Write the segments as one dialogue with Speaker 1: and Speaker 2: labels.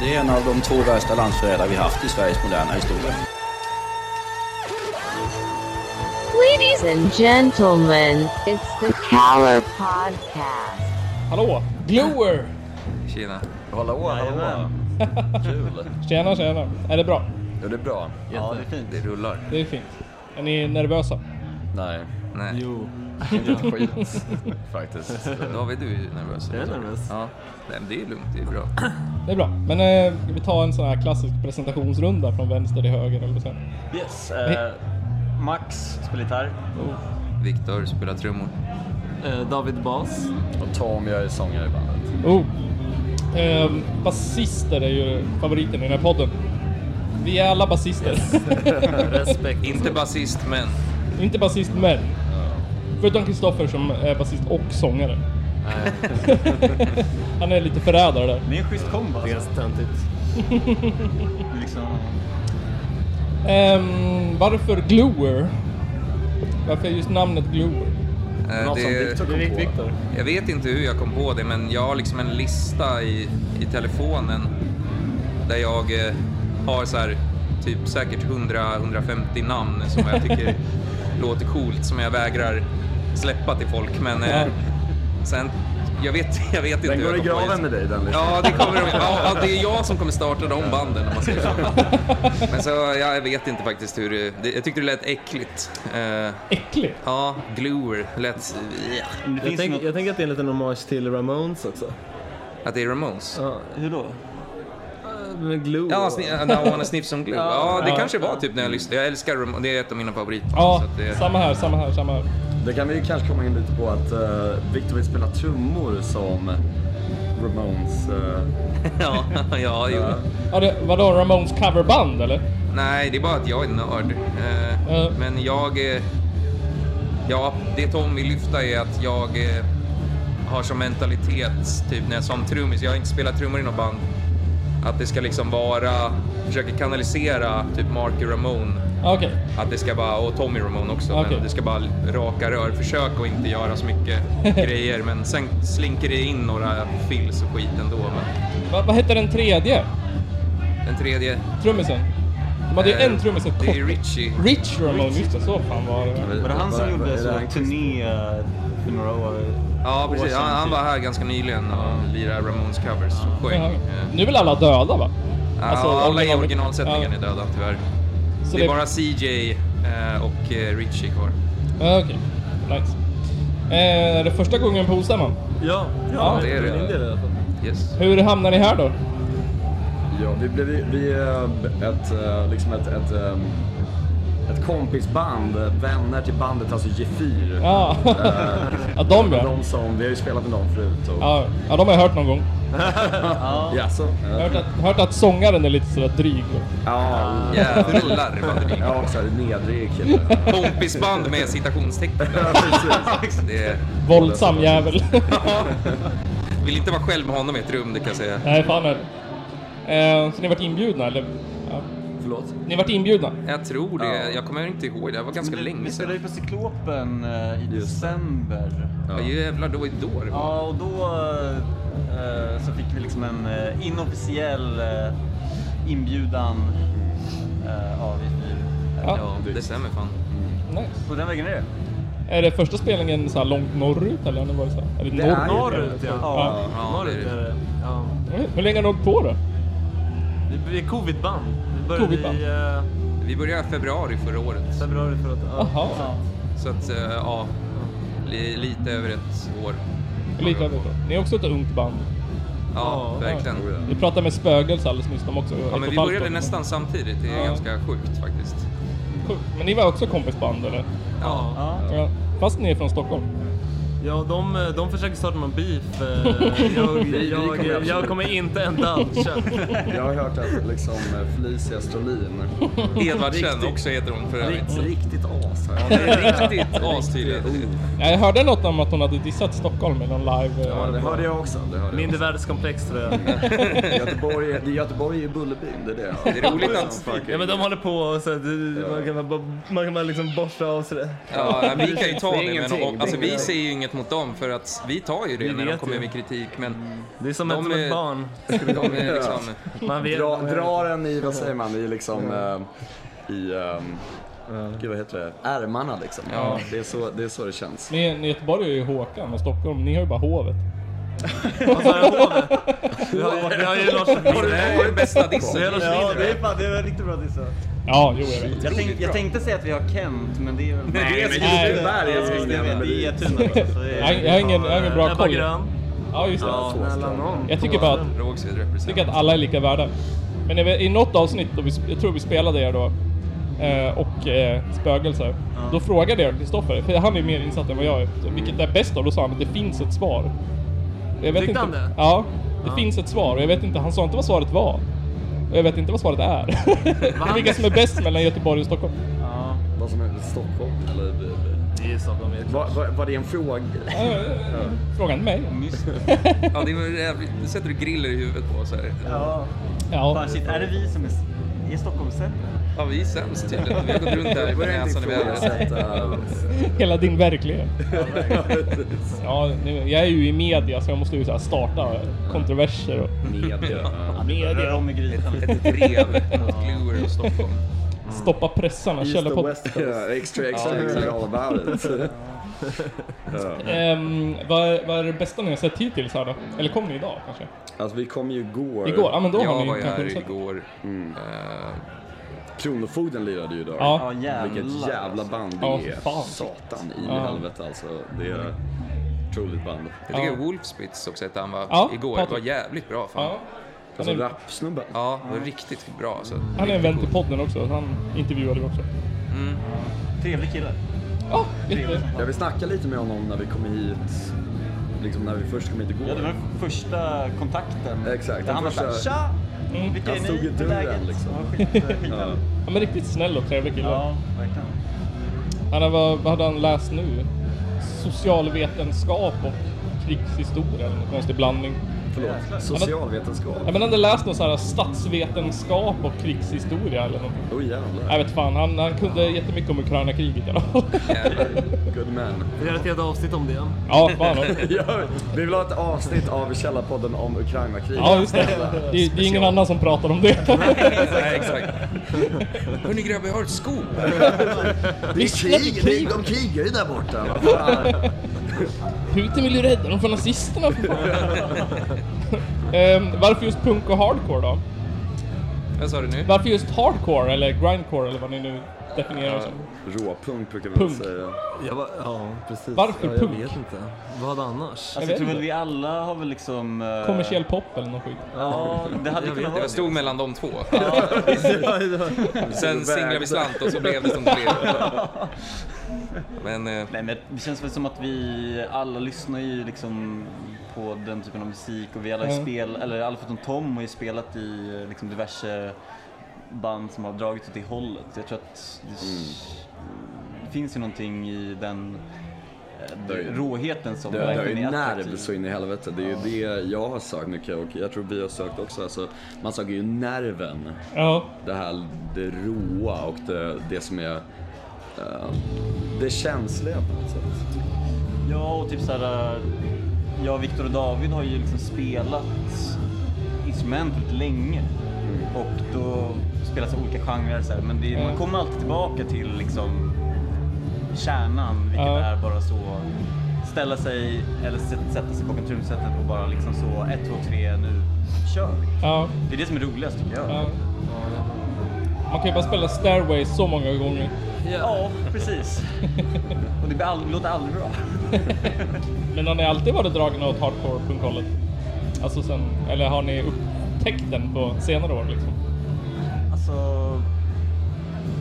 Speaker 1: Det är en av de två värsta landsförrädare vi haft i Sveriges moderna historia.
Speaker 2: Ladies and gentlemen, it's the Power Podcast.
Speaker 3: Hallå! Glower!
Speaker 4: Tjena.
Speaker 5: Hallå, hallå.
Speaker 1: Kul!
Speaker 3: Tjena, tjena. Är det bra?
Speaker 5: Ja, det är bra.
Speaker 4: Ja, det är fint. Det rullar.
Speaker 3: Det är fint. Är ni nervösa?
Speaker 5: Nej,
Speaker 4: Nej.
Speaker 6: Jo,
Speaker 5: inte skit faktiskt.
Speaker 4: David, du är ju nervös.
Speaker 6: jag är nervös.
Speaker 4: Ja. Nej, men det är lugnt. Det är bra.
Speaker 3: Det är bra. Men eh, ska vi ta en sån här klassisk presentationsrunda från vänster till höger eller så?
Speaker 6: Yes. Eh, Max spelar gitarr.
Speaker 4: Viktor spelar trummor.
Speaker 6: Eh, David Bas.
Speaker 5: Och Tom, jag är sångare i bandet.
Speaker 3: Oh. Eh, basister är ju favoriten i den här podden. Vi är alla basister.
Speaker 6: Respekt.
Speaker 4: Inte basist, men
Speaker 3: Inte basist men. Förutom Kristoffer som är basist och sångare. Han är lite förrädare där.
Speaker 6: Ni är en schysst kombo alltså.
Speaker 7: Ganska töntigt.
Speaker 6: Liksom.
Speaker 3: Ehm, varför Glower? Varför just namnet Glower?
Speaker 4: eh,
Speaker 5: Något som
Speaker 4: det,
Speaker 5: Viktor
Speaker 7: Det
Speaker 5: kom
Speaker 7: gick
Speaker 5: på.
Speaker 7: Viktor.
Speaker 4: jag vet inte hur jag kom på det, men jag har liksom en lista i, i telefonen där jag eh, har så här, typ säkert 100-150 namn som jag tycker låter coolt, som jag vägrar släppa till folk. Men eh, sen, jag vet, jag vet inte
Speaker 5: Den
Speaker 4: hur
Speaker 5: går i
Speaker 4: jag kom på
Speaker 5: graven
Speaker 4: just-
Speaker 5: med dig, den listan.
Speaker 4: Ja, det, kommer, de- ja, ja, det är jag som kommer starta de banden om man säger så. Men så, ja, jag vet inte faktiskt hur det, det... Jag tyckte det lät äckligt. Eh,
Speaker 3: Äcklig.
Speaker 4: ja, gluer lät... ja.
Speaker 6: Men det
Speaker 7: Jag,
Speaker 6: finns ju
Speaker 7: tänk,
Speaker 6: något...
Speaker 7: jag tänker att det är en liten hommage till Ramones också.
Speaker 4: Att det är Ramones.
Speaker 7: Ja,
Speaker 6: Hur då?
Speaker 7: Eh, med glue.
Speaker 4: Ja,
Speaker 7: och-
Speaker 4: sni- Now I wanna sniff some glue. Ja, det kanske var typ när jag lyssnade. Jag älskar Ramones, det är ett av mina favoriter.
Speaker 3: Ja,
Speaker 4: så att det,
Speaker 3: samma här, samma här, samma här.
Speaker 5: Det kan vi ju kanske komma in lite på att uh, Viktor vill spela trummor som Ramones. eh,
Speaker 4: ja, ja, jo.
Speaker 3: Ja, det, vadå, Ramones coverband eller?
Speaker 4: Nej, det är bara att jag är nörd. Eh,
Speaker 3: Ja.
Speaker 4: Men jag... eh, Ja, det Tom vill lyfta är att jag eh, har som mentalitet, typ när jag som trummis, jag har inte spelat trummor i något band, att det ska liksom vara, försöker kanalisera typ Marky Ramone.
Speaker 3: Ja, Okej.
Speaker 4: Att det ska bara, och Tommy Ramone också,
Speaker 3: Okej.
Speaker 4: men det ska bara raka rör. Försök att inte göra så mycket grejer, men sen slinker det in några fills och skit ändå. Men
Speaker 3: Va, vad hette den tredje
Speaker 4: den tredje...
Speaker 3: trummisen? De hade ju
Speaker 4: eh,
Speaker 3: en trummis ett
Speaker 4: Det är
Speaker 3: kort.
Speaker 4: Richie.
Speaker 3: Rich Ramone, just det, så fan var det.
Speaker 6: Var det han som
Speaker 5: vad- vad
Speaker 6: gjorde
Speaker 5: är det
Speaker 6: så
Speaker 5: här?
Speaker 6: en turné eh, för några år?
Speaker 4: Ja,
Speaker 6: år
Speaker 4: precis.
Speaker 6: sedan,
Speaker 4: Han, han
Speaker 6: typ?
Speaker 4: var här ganska nyligen och lirade Ramones covers och sjöng.
Speaker 3: Ja.
Speaker 4: Eh,
Speaker 3: Nu är väl alla döda va?
Speaker 4: ja,
Speaker 3: Alltså,
Speaker 4: alla i
Speaker 3: original-
Speaker 4: originalsättningen
Speaker 3: ja.
Speaker 4: är döda tyvärr.
Speaker 3: Så
Speaker 4: det är
Speaker 3: det-
Speaker 4: bara CJ eh, och eh, Richie kvar.
Speaker 3: Ja, Okej, nice. Eh, är det första gången på Ostämman?
Speaker 7: Ja,
Speaker 4: Ja, det är
Speaker 7: för min
Speaker 4: det.
Speaker 7: del i alla fall.
Speaker 4: Yes.
Speaker 3: Hur hamnar ni här då?
Speaker 5: Ja, vi blev ju- vi är ett, eh, liksom ett, ett, ehm, ett kompisband, eh, vänner till bandet, alltså G4.
Speaker 3: Ja,
Speaker 5: Eh,
Speaker 3: ja de ja.
Speaker 5: de som, vi har ju spelat med dem förut. Och,
Speaker 3: ja. Ja, de har jag hört någon gång.
Speaker 5: Jaså?
Speaker 3: Jag har
Speaker 5: Eh,
Speaker 3: hört att, hört att sångaren är lite sådär dryg.
Speaker 5: Ja,
Speaker 4: Jävlar vad det
Speaker 5: Ja, också en nedrig kille.
Speaker 4: är. Kompisband med citationstecken. Det är...
Speaker 3: Våldsam jävel.
Speaker 4: Vill inte vara själv med honom i ett rum, det kan jag säga.
Speaker 3: Nej, fan är det. Eh, Så ni vart inbjudna eller? Ja.
Speaker 5: Förlåt?
Speaker 3: Ni vart inbjudna?
Speaker 4: Jag tror
Speaker 5: Ja.
Speaker 4: det. Jag kommer inte ihåg. Det här var ganska
Speaker 6: Men det-
Speaker 4: länge
Speaker 6: Vi spelade
Speaker 4: sedan.
Speaker 6: ju på Cyklopen eh, i
Speaker 5: Just det.
Speaker 6: december.
Speaker 4: Ja. Jävlar, då är då det var.
Speaker 6: Ja, och då eh, så fick vi liksom en eh, inofficiell eh, inbjudan eh, av vi
Speaker 3: Ja.
Speaker 4: Ja, det stämmer fan.
Speaker 3: Nice.
Speaker 6: På den vägen är det.
Speaker 3: Är det första spelningen så här långt norrut eller? Har ni varit så här? Eller
Speaker 5: Det är ju-
Speaker 7: Norrut ja.
Speaker 4: Ja,
Speaker 6: Ja.
Speaker 4: det är
Speaker 7: Norrut är
Speaker 4: det.
Speaker 7: det. Ja.
Speaker 3: Hur länge har ni hållit på då?
Speaker 7: Vi- Vi är covidband. Vi började
Speaker 3: Covidband.
Speaker 7: i eh,
Speaker 4: Vi började i februari förra året.
Speaker 7: februari förra året. Ja.
Speaker 3: Jaha,
Speaker 6: Ja.
Speaker 4: Så att, eh, ja, li, lite över ett år.
Speaker 3: lite över så. Ni är också ett ungt band.
Speaker 4: Ja,
Speaker 7: Ja,
Speaker 4: verkligen.
Speaker 3: Vi pratade med Spögels alldeles nyss, de också. ett
Speaker 4: Ja,
Speaker 3: och
Speaker 4: men
Speaker 3: ett
Speaker 4: vi
Speaker 3: halvt
Speaker 4: började
Speaker 3: år.
Speaker 4: nästan samtidigt. Det är
Speaker 3: Ja.
Speaker 4: ganska sjukt faktiskt.
Speaker 3: Sjukt. Men ni var också kompisband eller?
Speaker 4: Ja.
Speaker 6: Ja.
Speaker 3: Ja. Fast ni är från Stockholm.
Speaker 7: Ja, de, eh, de försöker starta någon beef. eh, Jag,
Speaker 5: Vi- vi kommer
Speaker 7: jag, jag,
Speaker 5: absolut-
Speaker 7: jag kommer inte en dansa.
Speaker 5: Jag har hört att liksom eh, Felicia Stolin
Speaker 4: Edvardsen också heter hon för övrigt.
Speaker 5: riktigt as. as här.
Speaker 4: Det är riktigt astydligt.
Speaker 3: Jag hörde något om att hon hade dissat Stockholm i någon live. eh,
Speaker 5: Ja, det hörde jag också. Det hörde jag
Speaker 7: Mindervärdeskomplex tror jag.
Speaker 5: också. Göteborg, är- det- Göteborg är ju Bullerbyn, det är det.
Speaker 4: Det är roligt att-
Speaker 7: Ja men de håller på och så här, det, man kan bara, man kan bara liksom borsta av sig det.
Speaker 4: Ja, vi kan ju ta
Speaker 5: Det är
Speaker 4: det, men
Speaker 5: ingenting.
Speaker 4: och, alltså,
Speaker 5: Det är
Speaker 4: vi
Speaker 5: ingenting.
Speaker 4: säger ju inget mot dem för att vi tar ju
Speaker 7: Vi
Speaker 4: det när de
Speaker 7: vet
Speaker 4: kommer
Speaker 7: ju.
Speaker 4: med kritik. Men
Speaker 7: Det är som,
Speaker 4: De
Speaker 7: ett, som
Speaker 4: är-
Speaker 7: ett barn.
Speaker 4: de är liksom...
Speaker 7: Man vet.
Speaker 5: Dra, drar en i, vad säger man, i liksom... eh, I... ehm, Gud, vad heter det? Ärmarna liksom.
Speaker 4: Ja.
Speaker 5: Det, är så, det är så det känns.
Speaker 3: Ni, ni Göteborg är ju Håkan och Stockholm, ni har ju bara hovet.
Speaker 7: Vad sa jag? Hovet? Vi har- Vi har ju Lars
Speaker 4: Det här är den bästa dissen.
Speaker 7: Vi har Lars
Speaker 6: Ja, det,
Speaker 7: Winnerbäck.
Speaker 6: är fan, det var riktigt bra dissat.
Speaker 3: Ja, jo jag vet.
Speaker 6: Jag, tänk, jag tänkte säga att vi har Kent, men det är väl...
Speaker 5: Det är
Speaker 6: Ja,
Speaker 5: Eskilstunaberg,
Speaker 6: jag vet, det är
Speaker 5: Eskilstuna.
Speaker 6: Tuna också. så det är-
Speaker 3: Jag, jag, har ingen, jag har ingen bra
Speaker 7: Ebba
Speaker 3: koll.
Speaker 7: Grön.
Speaker 3: Ja, just det.
Speaker 5: Ja, snälla nån.
Speaker 3: Jag tycker bara att
Speaker 4: Rågsved
Speaker 3: Jag tycker att
Speaker 4: representerar.
Speaker 3: alla är lika värda. Men jag vet- i något avsnitt, då vi, jag tror vi spelade er då, eh, och eh, spögelser. Då frågade jag Kristoffer, för han är mer insatt än vad jag är, vilket är bäst av? Då sa han att det finns ett svar. Jag vet
Speaker 7: Tyckte
Speaker 3: inte,
Speaker 7: han det?
Speaker 3: Ja, det finns ett svar och jag vet inte, han sa inte vad svaret var. Och jag vet inte vad svaret är. Vilka som är bäst mellan Göteborg och Stockholm.
Speaker 6: Ja.
Speaker 5: Vad som är Stockholm, eller...
Speaker 7: Det är ju Stockholm. vet du.
Speaker 5: Var, var, var det en fråga?
Speaker 3: Eh, Frågan till mig.
Speaker 4: Ja, det är väl jävligt- det sätter du griller i huvudet på oss här.
Speaker 6: ja.
Speaker 3: Ja,
Speaker 6: Fan shit, är det vi som är... s- Är Stockholm sämre?
Speaker 4: Ja, vi är sämst tydligen. Vi har gått runt här med
Speaker 5: Börja inte
Speaker 3: Alltså,
Speaker 4: näsan i vädret.
Speaker 5: ifrågasätta...
Speaker 3: hela din verklighet.
Speaker 5: Ja, precis.
Speaker 3: Ja, nu, jag är ju i media så jag måste ju så här starta kontroverser och
Speaker 5: Media.
Speaker 6: Rör om i grytan.
Speaker 4: Ett drev mot Gluer och Stockholm.
Speaker 3: stoppa pressarna.
Speaker 5: East
Speaker 3: Källarpodden-
Speaker 5: och West Coast. Extra, extra, extra. All about it.
Speaker 3: Ehm, vad, vad är det bästa ni har sett hittills här då? Eller kom ni idag kanske?
Speaker 5: Alltså vi kom ju igår.
Speaker 3: Igår? Ja men då har
Speaker 4: Jag
Speaker 3: ni
Speaker 4: var ju
Speaker 3: kanske
Speaker 4: här
Speaker 3: sett.
Speaker 4: igår. Eh,
Speaker 5: Kronofogden lirade ju idag.
Speaker 3: Ja.
Speaker 6: Ja jävlar.
Speaker 5: Vilket jävla band det
Speaker 3: Ja,
Speaker 5: är.
Speaker 3: fan.
Speaker 5: Satan i
Speaker 3: Ja. Mm.
Speaker 5: helvete alltså. Det är ett otroligt band.
Speaker 4: Jag tycker
Speaker 3: Ja.
Speaker 4: Wolfspitz också hette han
Speaker 3: Ja,
Speaker 4: va? Igår. Det
Speaker 3: Patrik.
Speaker 4: var jävligt bra fan.
Speaker 3: Ja.
Speaker 5: Alltså
Speaker 3: Han är-
Speaker 5: rapsnubben.
Speaker 4: Ja, det var riktigt bra alltså.
Speaker 3: Han är en
Speaker 4: Riktigt
Speaker 3: vän till
Speaker 4: coolt.
Speaker 3: podden också, så han intervjuade vi också.
Speaker 6: Trevlig kille.
Speaker 3: Ja, lite.
Speaker 5: Jag vill snacka lite med honom när vi kom hit. Liksom när vi först kom hit igår.
Speaker 6: Ja, det var den första kontakten.
Speaker 5: Exakt,
Speaker 6: Där
Speaker 5: den
Speaker 6: han var
Speaker 5: första-
Speaker 6: såhär tja! Vilka är
Speaker 5: Han
Speaker 6: ni?
Speaker 5: stod i
Speaker 6: Hur är
Speaker 5: dörren,
Speaker 6: läget?
Speaker 5: liksom.
Speaker 6: Ja, skit, skit.
Speaker 5: Ja.
Speaker 3: Ja, men riktigt snäll och trevlig kille.
Speaker 6: Ja, verkligen.
Speaker 3: Han har, vad, vad hade han läst nu? Socialvetenskap och krigshistoria eller någon konstig blandning.
Speaker 5: Förlåt. Socialvetenskap.
Speaker 3: Ja, men han hade läst någon så här statsvetenskap och krigshistoria eller något.
Speaker 5: Åh Oh, jävlar.
Speaker 3: Jag vet fan, han, han kunde jättemycket om Ukraina-kriget i alla fall.
Speaker 4: Jävlar.
Speaker 5: Good man.
Speaker 7: Vi har ett helt avsnitt om det.
Speaker 3: Ja, fan också.
Speaker 5: Ja, vi vill ha ett avsnitt av Källarpodden om Ukraina-kriget.
Speaker 3: Ja, just det. Det, det är ingen annan som pratar om det.
Speaker 4: Nej, exakt. Hörni grabbar, jag har ett skop.
Speaker 5: Det är
Speaker 3: Visst, det är
Speaker 5: krig,
Speaker 3: krig.
Speaker 5: de krigar ju där borta. Vad fan?
Speaker 3: Putin vill ju rädda dem från nazisterna för fan. Ehm, Varför just punk och hardcore då?
Speaker 4: Vad sa du nu?
Speaker 3: Varför just hardcore eller grindcore eller vad ni nu definierar det som?
Speaker 5: Råpunk brukar man
Speaker 3: Punk.
Speaker 5: säga.
Speaker 7: Jag bara, ja precis.
Speaker 3: Varför
Speaker 7: ja, jag
Speaker 3: punk?
Speaker 7: vet inte. Vad annars?
Speaker 6: Alltså,
Speaker 3: vet
Speaker 6: jag tror väl
Speaker 3: inte.
Speaker 6: vi alla har väl liksom... eh,
Speaker 3: Kommersiell pop eller något skit?
Speaker 6: Ja, det hade kunnat
Speaker 7: Jag vet.
Speaker 4: Det
Speaker 6: vara
Speaker 4: var stod mellan de två.
Speaker 7: Ja, ja.
Speaker 4: Sen singlade vi slant och så blev det som det blev. Men eh,
Speaker 6: Nej, men det känns väl som att vi alla lyssnar ju liksom på den typen av musik och vi alla har ju
Speaker 3: Mm.
Speaker 6: spel, eller alla förutom Tom har ju spelat i eh, liksom diverse band som har dragit åt det hållet. Jag tror att det,
Speaker 7: Mm.
Speaker 6: det finns ju någonting i den eh,
Speaker 5: Det är ju-
Speaker 6: råheten som
Speaker 5: Det, det är ju
Speaker 6: verkligen är
Speaker 5: nerv så
Speaker 6: attraktiv.
Speaker 5: in i helvete. Det är ju det jag har sökt mycket och jag tror vi har sökt också. Alltså, man söker ju nerven.
Speaker 3: Ja.
Speaker 5: Det här det roa och det, det som är eh, det känsliga på något sätt.
Speaker 6: Ja, och typ såhär, eh, jag, Viktor och David har ju liksom spelat instrument väldigt länge. Och då spelas olika genrer så här, men det,
Speaker 3: Mm.
Speaker 6: man kommer alltid tillbaka till liksom kärnan, vilket
Speaker 3: Ja.
Speaker 6: är bara så ställa sig eller sätta, sätta sig bakom trumsetet och bara liksom så ett, två, tre, nu kör vi.
Speaker 3: Ja.
Speaker 6: Det är det som är roligast tycker jag.
Speaker 3: ja. Man kan ju bara spela Stairway så många gånger.
Speaker 6: Ja, precis. och det blir all, låter aldrig bra.
Speaker 3: Men har ni alltid varit dragna åt hardcore punkhållet? Alltså sen, eller har ni upptäckt den på senare år liksom?
Speaker 6: Alltså,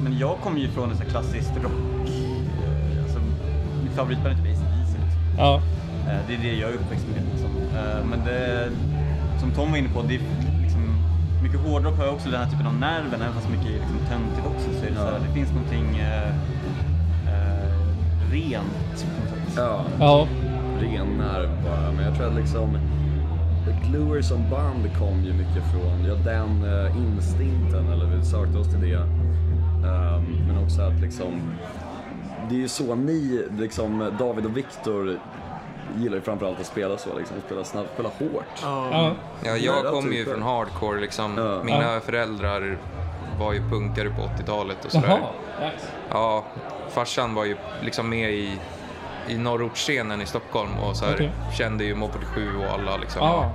Speaker 6: men jag kommer ju från en sån här klassisk rock. eh, Alltså, mitt favoritband är typ ACDC. Liksom.
Speaker 3: Ja.
Speaker 6: Eh, Det är det jag är uppväxt med. Liksom. Eh, Men det, som Tom var inne på, det är liksom, mycket hårdrock har ju också den här typen av nerven, även fast mycket är liksom töntigt också. Så är det, så här, det finns någonting eh, rent på något sätt.
Speaker 5: Ja,
Speaker 3: Ja.
Speaker 5: ren nerv bara. Men jag tror att liksom The Gluer som band kom ju mycket från ja, den eh, instinkten, eller vi sökte oss till det. Ehm, men också att liksom, det är ju så ni, liksom David och Viktor gillar ju framförallt att spela så liksom, spela snabbt, spela hårt.
Speaker 3: ja.
Speaker 4: Ja,
Speaker 5: Nära
Speaker 4: jag kom ju
Speaker 5: typer.
Speaker 4: från hardcore liksom.
Speaker 5: Ja.
Speaker 4: Mina föräldrar var ju punkare på 80-talet och sådär.
Speaker 3: Jaha. Nice.
Speaker 4: Ja, farsan var ju liksom med i, i norrortsscenen i Stockholm och så här,
Speaker 3: Okej.
Speaker 4: kände ju Moped 7 och alla liksom.
Speaker 3: Ja.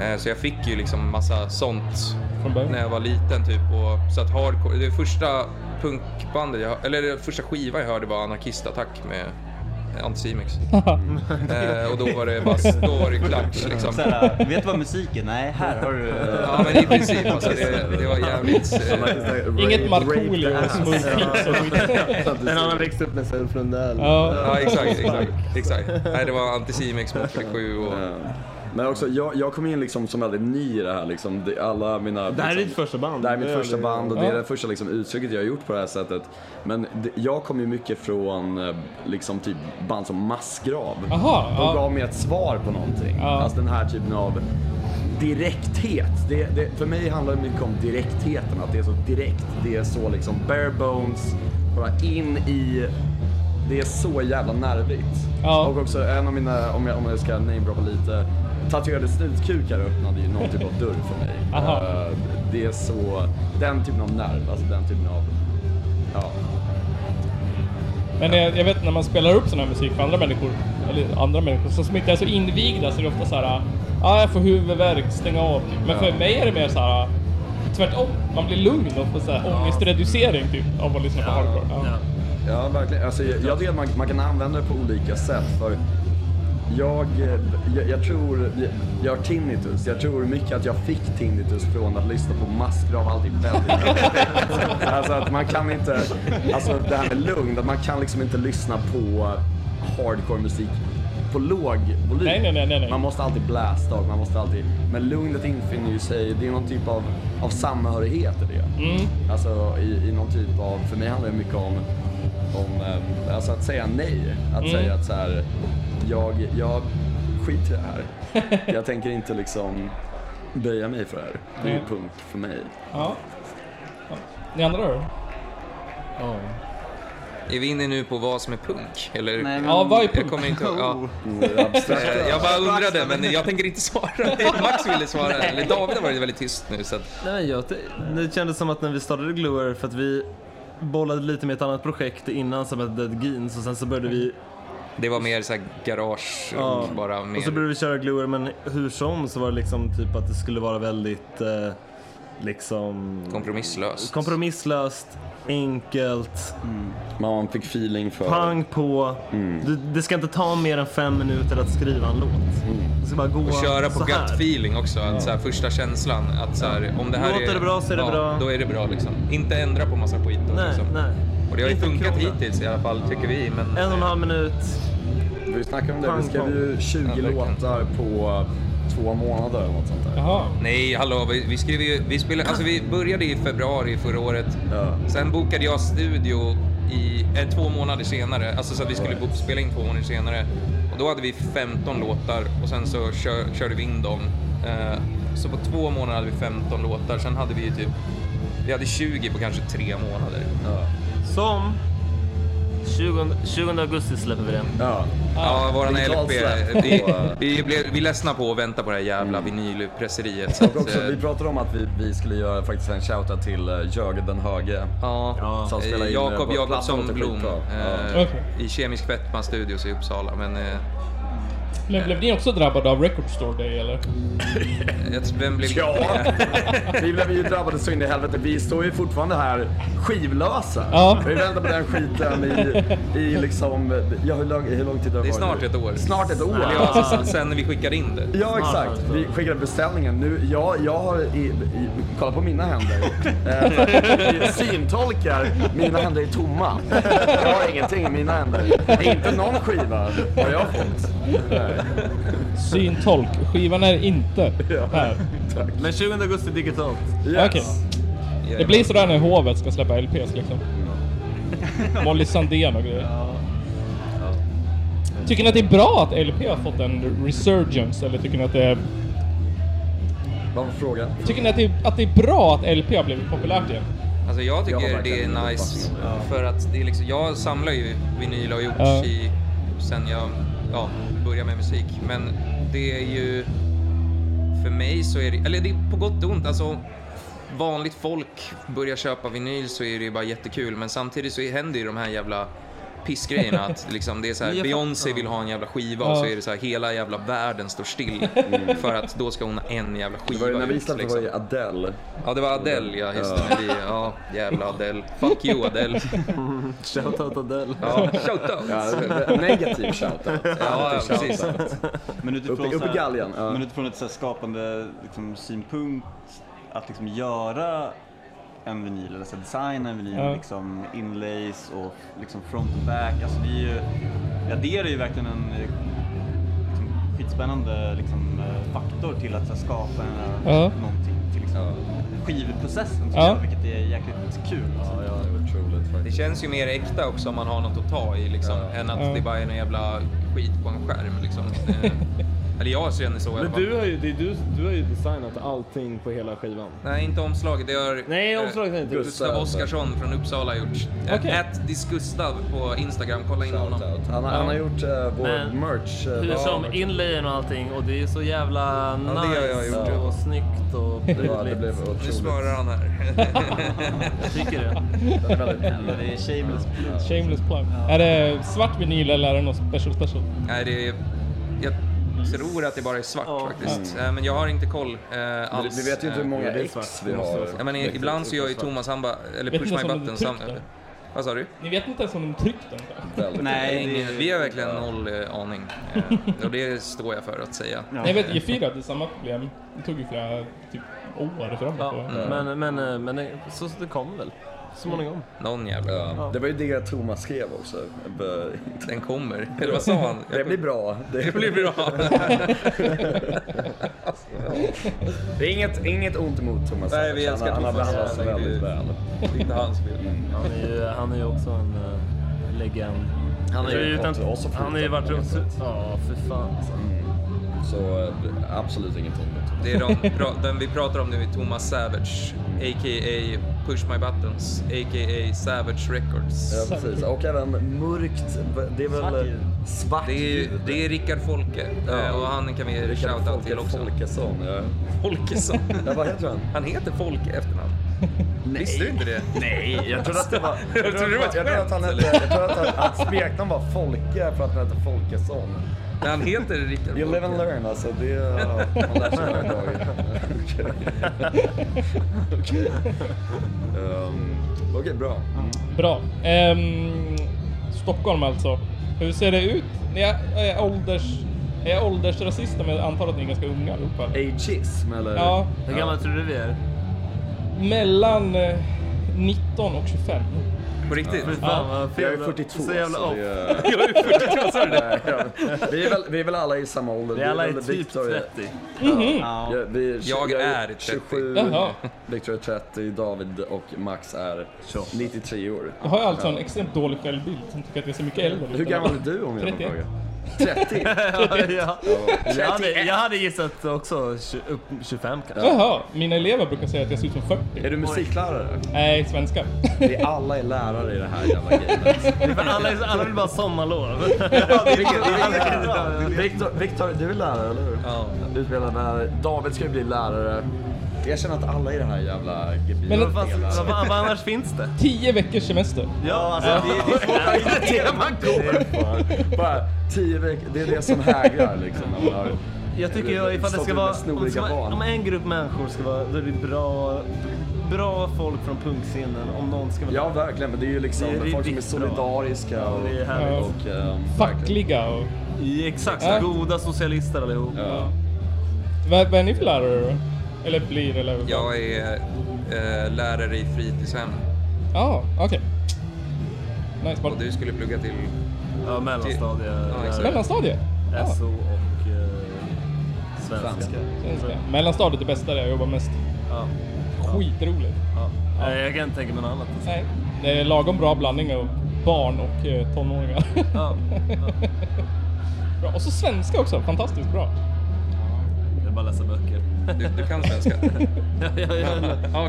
Speaker 4: Eh, Så jag fick ju liksom massa sånt
Speaker 3: Från början.
Speaker 4: när jag var liten typ. Och, så att hardcore, det första punkbandet, jag, eller det första skivan jag hörde var Anarkistattack med Anticimex. eh, och då var det bara story clutch liksom.
Speaker 6: Såhär, vet du vad musik är? Nej, här har du... eh,
Speaker 4: Ja men i princip alltså, det, det var jävligt... Eh,
Speaker 3: Inget Markoolio och Smooth Peaks och skit.
Speaker 7: En annan växte upp med Self Lundell.
Speaker 3: Ja.
Speaker 4: ja exakt, exakt, exakt. Nej det var Anticimex, Moped 7 och...
Speaker 5: Ehm, Men också, jag, jag kom in liksom som väldigt ny i det här liksom. Det- Alla mina...
Speaker 7: Det här är
Speaker 5: liksom,
Speaker 7: ditt första band.
Speaker 5: Det här är mitt
Speaker 7: Det är
Speaker 5: första
Speaker 7: det.
Speaker 5: band och det är
Speaker 3: Ja.
Speaker 5: det första liksom, uttrycket jag har gjort på det här sättet. Men det, jag kom ju mycket från eh, liksom, typ, band som Massgrav.
Speaker 3: Jaha,
Speaker 5: De
Speaker 3: ja.
Speaker 5: gav mig ett svar på någonting.
Speaker 3: Ja.
Speaker 5: Alltså den här typen av direkthet. Det, det, för mig handlar det mycket om direktheten, att det är så direkt. Det är så liksom bare bones, bara in i... Det är så jävla nervigt.
Speaker 3: Ja.
Speaker 5: Och också en av mina, om jag, om jag ska namedroppa lite, tatuerade snutkukar öppnade ju någon typ av dörr för mig.
Speaker 3: Aha.
Speaker 5: Eh, Det är så, den typen av nerv, alltså den typen av, ja.
Speaker 3: Men jag, jag vet när man spelar upp sån här musik för andra människor, eller andra människor så som inte är så invigda så är det ofta så här, ah, jag får huvudvärk, stäng av. typ." Men för
Speaker 5: Ja.
Speaker 3: mig är det mer så här tvärtom. Man blir lugn och får så här ångestreducering typ av att lyssna på hardcore. Ja.
Speaker 5: Ja, verkligen. Alltså, jag, jag tycker att man, man kan använda det på olika sätt. För jag, eh, jag, jag tror, jag, jag har tinnitus. Jag tror mycket att jag fick tinnitus från att lyssna på massgrav alltid väldigt högt. Alltså att man kan inte, alltså det här med lugn, att man kan liksom inte lyssna på hardcore musik på låg volym.
Speaker 3: Nej, nej, nej, nej, nej.
Speaker 5: Man måste alltid blästa och man måste alltid, men lugnet infinner ju sig, det är någon typ av, av samhörighet i
Speaker 3: Mm.
Speaker 5: det. Alltså i, i någon typ av, för mig handlar det mycket om, om eh, alltså att säga nej. Att
Speaker 7: Mm.
Speaker 5: säga att så här, jag, jag skiter i det här. Jag tänker inte liksom böja mig för det här. Det är ju
Speaker 3: Nej.
Speaker 7: Mm.
Speaker 5: punk för mig.
Speaker 3: Ja. Ja. Ni andra då?
Speaker 4: Är vi inne nu på vad som är punk? Eller?
Speaker 6: Nej, men-
Speaker 3: Ja, vad är
Speaker 4: Jag
Speaker 3: punk?
Speaker 4: kommer inte ihåg.
Speaker 7: Oh,
Speaker 4: Ja.
Speaker 5: Det är abstrakt.
Speaker 4: Eh, Jag bara undrade, men jag tänker inte svara. Max ville svara, eller David har varit väldigt tyst nu. Så att,
Speaker 7: Nej, men jag, det kändes som att när vi startade Gluer, för att vi bollade lite med ett annat projekt innan som hette Dead Geens och sen så började vi
Speaker 4: det var mer så här garage,
Speaker 7: Ja.
Speaker 4: bara
Speaker 7: Och så
Speaker 4: mer.
Speaker 7: började vi köra Gluer men hur som så var det liksom typ att det skulle vara väldigt eh, liksom
Speaker 4: Kompromisslöst.
Speaker 7: kompromisslöst, enkelt,
Speaker 5: Man fick feeling för...
Speaker 7: pang på.
Speaker 5: Mm.
Speaker 7: Det, det ska inte ta mer än fem minuter att skriva en låt. Det ska bara gå
Speaker 4: Och köra på
Speaker 7: så här.
Speaker 4: gut feeling också, att så här, första känslan. Att så här, om det här
Speaker 7: Låter
Speaker 4: är,
Speaker 7: det bra så är det
Speaker 4: ja,
Speaker 7: bra.
Speaker 4: Då är det bra liksom. Inte ändra på massa skit. Då,
Speaker 7: Nej,
Speaker 4: liksom.
Speaker 7: nej.
Speaker 4: Och det har ju
Speaker 7: Inte
Speaker 4: funkat
Speaker 7: krångla.
Speaker 4: hittills i alla fall, tycker vi. Men
Speaker 7: En och en halv minut.
Speaker 5: Vi snackade om det, vi
Speaker 7: Pang,
Speaker 5: skrev ju 20
Speaker 4: Ja, verkligen.
Speaker 5: låtar på två månader eller något sånt där.
Speaker 3: Jaha.
Speaker 4: Nej, hallå, vi, vi skrev ju, vi spelade, alltså vi började i februari förra året.
Speaker 5: Ja.
Speaker 4: Sen bokade jag studio i, eh, två månader senare, alltså så att vi skulle bo, spela in två månader senare. Och då hade vi 15 låtar och sen så kör, körde vi in dem. Eh, så på två månader hade vi 15 låtar, sen hade vi ju typ, vi hade 20 på kanske tre månader.
Speaker 5: Ja.
Speaker 7: Som 20, 20 augusti släpper vi den.
Speaker 5: Ja. Ah,
Speaker 4: Ja, våran LP.
Speaker 5: Digitalt släpp.
Speaker 4: Vi, vi, blev, vi ledsnade på att vänta på det här jävla vinylpresseriet. Så att,
Speaker 5: Och Mm. också,
Speaker 4: eh,
Speaker 5: vi pratade om att vi, vi skulle göra faktiskt en shoutout till eh, Jöge den höge.
Speaker 4: Ja,
Speaker 5: Som spelar in, eh,
Speaker 4: Jakob
Speaker 5: på
Speaker 4: Jakobsson
Speaker 5: plattan,
Speaker 4: Blom
Speaker 5: skitbra.
Speaker 4: eh,
Speaker 3: Ja.
Speaker 4: i Kemisk Fettman Studios i Uppsala. Men eh,
Speaker 3: Men blev ni också drabbade av Record Store Day eller?
Speaker 4: jag tror, vem blev
Speaker 5: Ja,
Speaker 4: det?
Speaker 5: vi blev ju drabbade så in i helvete. Vi står ju fortfarande här skivlösa.
Speaker 3: Ja.
Speaker 5: Vi väntar på den skiten i, i liksom, ja hur lång, hur lång tid har
Speaker 4: Det är
Speaker 5: varit
Speaker 4: snart
Speaker 5: nu?
Speaker 4: ett år.
Speaker 5: Snart ett år.
Speaker 4: Eller ja, alltså, sen vi skickade in det.
Speaker 5: Ja exakt, vi skickade beställningen. Nu, jag, jag har, i, i, kolla på mina händer. Eh, Syntolkar, mina händer är tomma. Jag har ingenting i mina händer. Inte någon skiva har jag fått. Nej.
Speaker 3: Syntolk. Skivan är inte här.
Speaker 7: Men 20 augusti digitalt.
Speaker 5: Yes.
Speaker 3: Okej. Det blir sådär när hovet ska släppa LPs liksom. Molly Sandén och grejer. Tycker ni att det är bra att LP har fått en resurgence? Eller tycker ni att det är...
Speaker 5: Vad var frågan?
Speaker 3: Tycker ni att det är, att det är bra att LP har blivit populärt igen?
Speaker 4: Alltså jag
Speaker 5: Jag har
Speaker 4: tycker det
Speaker 5: verkligen
Speaker 4: är
Speaker 5: ingen
Speaker 4: nice
Speaker 5: uppfattning
Speaker 4: för att det är liksom, jag samlar ju vinyl och har gjort
Speaker 3: Ja.
Speaker 4: i, sen jag ja, började med musik. Men det är ju, för mig så är det, eller det är på gott och ont. Alltså, vanligt folk börjar köpa vinyl så är det ju bara jättekul. Men samtidigt så händer ju de här jävla pissgrejerna. Att liksom det är så här,
Speaker 6: Nya fa-
Speaker 4: Beyoncé vill ha en jävla skiva och
Speaker 3: Ja.
Speaker 4: så är det så här, hela jävla världen står still. För att då ska hon ha en jävla
Speaker 5: Mm. Det
Speaker 4: skiva
Speaker 5: var ju när vi
Speaker 4: ut,
Speaker 5: släppte
Speaker 4: liksom.
Speaker 5: var det Adele.
Speaker 4: Ja, det var Adele, ja. Just det. Vi, ja, jävla Adele. Fuck you, Adele.
Speaker 7: Shoutout Adele.
Speaker 4: Ja, shout out.
Speaker 5: Ja, negativ shoutout.
Speaker 4: Ja, ja, precis.
Speaker 6: Men utifrån,
Speaker 5: Upp i- upp i
Speaker 6: så här-
Speaker 5: galgen, ja.
Speaker 6: men utifrån ett så här skapande liksom, synpunkt, att liksom göra en vinyl, eller så här, designa en vinyl,
Speaker 3: Ja.
Speaker 6: med liksom inlays och liksom front och back. Alltså det är ju, ja, det är ju verkligen en eh, liksom, skitspännande liksom, eh, faktor till att så här, skapa en,
Speaker 3: Ja.
Speaker 6: någonting. Till exempel skivprocessen, tycker
Speaker 3: Ja.
Speaker 6: jag, vilket är jäkligt kul.
Speaker 5: Ja, ja, det var otroligt
Speaker 4: Det
Speaker 5: faktiskt.
Speaker 4: känns ju mer äkta också om man har något att ta i, liksom, än att
Speaker 3: Ja.
Speaker 4: det bara är en jävla skit på en skärm. Liksom. Eh, Eller jag känner så i alla
Speaker 8: Men
Speaker 4: fall.
Speaker 8: du har, ju, det är du, du har ju designat allting på hela skivan.
Speaker 4: Nej, inte omslaget. Det har
Speaker 8: Nej,
Speaker 4: eh,
Speaker 8: omslaget är inte.
Speaker 5: Gustav.
Speaker 4: Gustav Oskarsson från Uppsala gjort.
Speaker 3: Okej.
Speaker 4: Okay. Ät Disgustav på Instagram, kolla in honom.
Speaker 5: Shoutout. Han, har- han har gjort eh, vår
Speaker 8: Men-
Speaker 5: merch. eh,
Speaker 8: Hur
Speaker 5: vår-
Speaker 8: som inlayen och allting och det är så jävla
Speaker 4: det har
Speaker 8: nice
Speaker 4: jag gjort,
Speaker 8: och snyggt och
Speaker 5: Det, var, det blev
Speaker 8: prydligt.
Speaker 4: Nu
Speaker 5: otroligt.
Speaker 4: smörar han här.
Speaker 8: Jag tycker det.
Speaker 5: Den är väldigt
Speaker 6: Eller det är shameless plug.
Speaker 3: Shameless plug. Är det svart vinyl eller är det något special special?
Speaker 4: Nej, det är, jag tror att det bara är svart faktiskt. Eh, Men jag har inte koll eh,
Speaker 5: Mm. Vi,
Speaker 4: alls.
Speaker 5: vi vet ju inte hur
Speaker 4: Eh,
Speaker 5: många
Speaker 8: Ja, det är
Speaker 5: ex
Speaker 8: svart.
Speaker 5: vi
Speaker 8: Det måste
Speaker 5: har.
Speaker 8: vara
Speaker 4: Ja, men i- ibland så gör ju Thomas, han bara, eller
Speaker 3: Vet
Speaker 4: push
Speaker 3: ni
Speaker 4: my
Speaker 3: som
Speaker 4: button.
Speaker 3: hade
Speaker 4: Sam,
Speaker 3: tryckt den?
Speaker 4: vad sa du?
Speaker 3: Ni vet inte ens om de tryckt den?
Speaker 5: väldigt-
Speaker 6: Nej, det
Speaker 4: Ingen,
Speaker 6: är-
Speaker 4: vi har verkligen noll eh, aning. Eh, och det står jag för att säga.
Speaker 6: Ja.
Speaker 3: Nej, jag vet G4 hade samma problem. Det tog ju flera typ, år framåt.
Speaker 8: Ja,
Speaker 3: va?
Speaker 8: men,
Speaker 5: Mm.
Speaker 8: men, eh, men det- så så det kommer väl småningom.
Speaker 4: Någon jävla...
Speaker 5: Ja. Det var ju det Thomas skrev också. B-
Speaker 4: Den kommer. Eller vad sa han?
Speaker 5: Det blir bra.
Speaker 4: Det blir bra.
Speaker 5: Det är inget, inget ont emot Thomas.
Speaker 4: Nej, vi älskar
Speaker 5: Han, han har
Speaker 4: Thomas.
Speaker 5: behandlats
Speaker 4: Ja,
Speaker 5: väldigt
Speaker 4: det-
Speaker 5: väl.
Speaker 4: Det är inte hans fel.
Speaker 8: Han är ju, han är ju också en eh, legend.
Speaker 5: Han
Speaker 8: Jag tror utan- han har ju varit runt... Ja, för fan. alltså.
Speaker 5: Så eh, absolut inget ont emot Thomas.
Speaker 4: Det är de, pra- den vi pratar om nu är Thomas Savage, a.k.a. Push My Buttons, a.k.a. Savage Records.
Speaker 5: Ja, precis. Och även mörkt. Det är
Speaker 6: Svart
Speaker 5: väl
Speaker 6: ljud.
Speaker 5: eh, svart
Speaker 4: Det är,
Speaker 5: ljud.
Speaker 4: det är Rickard Folke
Speaker 5: Ja.
Speaker 4: eh, och han kan vi
Speaker 5: Rickard
Speaker 4: shoutout
Speaker 5: Folke
Speaker 4: till också.
Speaker 5: Folkesson. Ja.
Speaker 4: Folkesson.
Speaker 5: Ja, vad heter han?
Speaker 4: Han heter Folke i efternamn. Visste du inte det?
Speaker 5: Nej, jag trodde att det var... Jag
Speaker 4: trodde det var ett
Speaker 5: jag trodde att han
Speaker 4: skämt,
Speaker 5: hette... Jag trodde att han- hans smeknamn var Folke för att han hette Folkesson.
Speaker 4: Men han heter Rickard
Speaker 5: You live
Speaker 4: Folke.
Speaker 5: and learn alltså. Det är... Man lär sig varje dag. Okej. Okej. Ehm, Okej, bra.
Speaker 3: Bra. Ehm, Stockholm alltså. Hur ser det ut? Ni är, är, ålders, är jag åldersrasist om jag antar att ni är ganska unga allihopa?
Speaker 5: Ageism eller?
Speaker 3: Ja,
Speaker 8: Hur gammal tror du vi är?
Speaker 3: mellan eh, 19 och 25.
Speaker 4: På riktigt?
Speaker 8: Fy fan vad fel.
Speaker 5: Jag är 42.
Speaker 8: Så jävla
Speaker 5: så
Speaker 8: off.
Speaker 5: det är-
Speaker 4: Jag är 42, sa du det?
Speaker 5: Nej, ja. vi, är väl, vi är väl alla i samma ålder.
Speaker 8: Vi alla är
Speaker 5: väl
Speaker 8: typ
Speaker 5: Victor är-
Speaker 8: 30.
Speaker 6: Ja.
Speaker 5: Ja, vi är,
Speaker 4: Jag är
Speaker 5: 27,
Speaker 3: Jaha.
Speaker 5: Victor är 30, David och Max är 93 år.
Speaker 3: Jag har ju alltså en extremt dålig självbild som tycker att jag ser mycket äldre ut.
Speaker 5: Hur gammal är du om jag får
Speaker 3: 31.
Speaker 5: fråga? 30?
Speaker 8: Ja, ja. jag, hade, jag hade gissat också tju- upp 25 kanske.
Speaker 3: Jaha, mina elever brukar säga att jag ser ut som 40.
Speaker 5: Är du musiklärare?
Speaker 3: Nej, svenska.
Speaker 5: Vi alla är lärare i det här jävla gamet.
Speaker 8: För alla, är så- alla vill bara ha sommarlov.
Speaker 5: Victor, Victor, du är lärare, eller hur?
Speaker 4: Ja.
Speaker 5: Utbildad lärare. David ska ju bli lärare. Jag känner att alla i det här jävla gebitet
Speaker 3: Men
Speaker 5: är
Speaker 3: vad
Speaker 8: Fast,
Speaker 5: lärare.
Speaker 8: vad, fan, vad annars finns det?
Speaker 3: 10 veckors semester.
Speaker 6: Ja, alltså, det, det är svårt att
Speaker 5: det man går för. Bara tio veckor, det är det som hägrar liksom. När man har
Speaker 8: Jag tycker jag, ifall det ska vara,
Speaker 5: Stockholm med
Speaker 8: om, det ska
Speaker 5: snoriga
Speaker 8: vara,
Speaker 5: barn.
Speaker 8: om en grupp människor ska vara, då är det bra, bra folk från punkscenen. Om någon ska vara
Speaker 5: Ja, verkligen. Men det är ju liksom
Speaker 8: Det är
Speaker 5: folk som är
Speaker 8: riktigt bra.
Speaker 5: solidariska och...
Speaker 8: det är
Speaker 3: Ja.
Speaker 8: härligt.
Speaker 5: och ehm, verkligen.
Speaker 3: Fackliga och...
Speaker 8: I exakt,
Speaker 3: Ja.
Speaker 8: goda socialister allihop.
Speaker 5: Ja.
Speaker 3: Vad, vad är ni för lärare då? Eller blir eller? vad?
Speaker 4: Jag är eh, lärare i fritidshem
Speaker 3: Ja, okej. Nice.
Speaker 4: och
Speaker 3: Var...
Speaker 4: du skulle plugga till...
Speaker 8: Ja, mellanstadie,
Speaker 4: Ja, exakt.
Speaker 8: där,
Speaker 3: Mellanstadiet? Ja,
Speaker 8: SO och eh, svenska.
Speaker 5: Svenska.
Speaker 3: svenska. Mellanstadiet är det bästa där jag jobbar mest.
Speaker 8: Ja,
Speaker 3: Skitroligt.
Speaker 8: ja. Nej, Jag kan inte tänka mig något annat. alltså.
Speaker 3: Nej. Det är lagom bra blandning av barn och eh, tonåringar.
Speaker 8: Ja, ja.
Speaker 3: Bra. Och så svenska också, fantastiskt bra.
Speaker 7: Jag bara läsa böcker.
Speaker 4: Du, du kan svenska? Ja,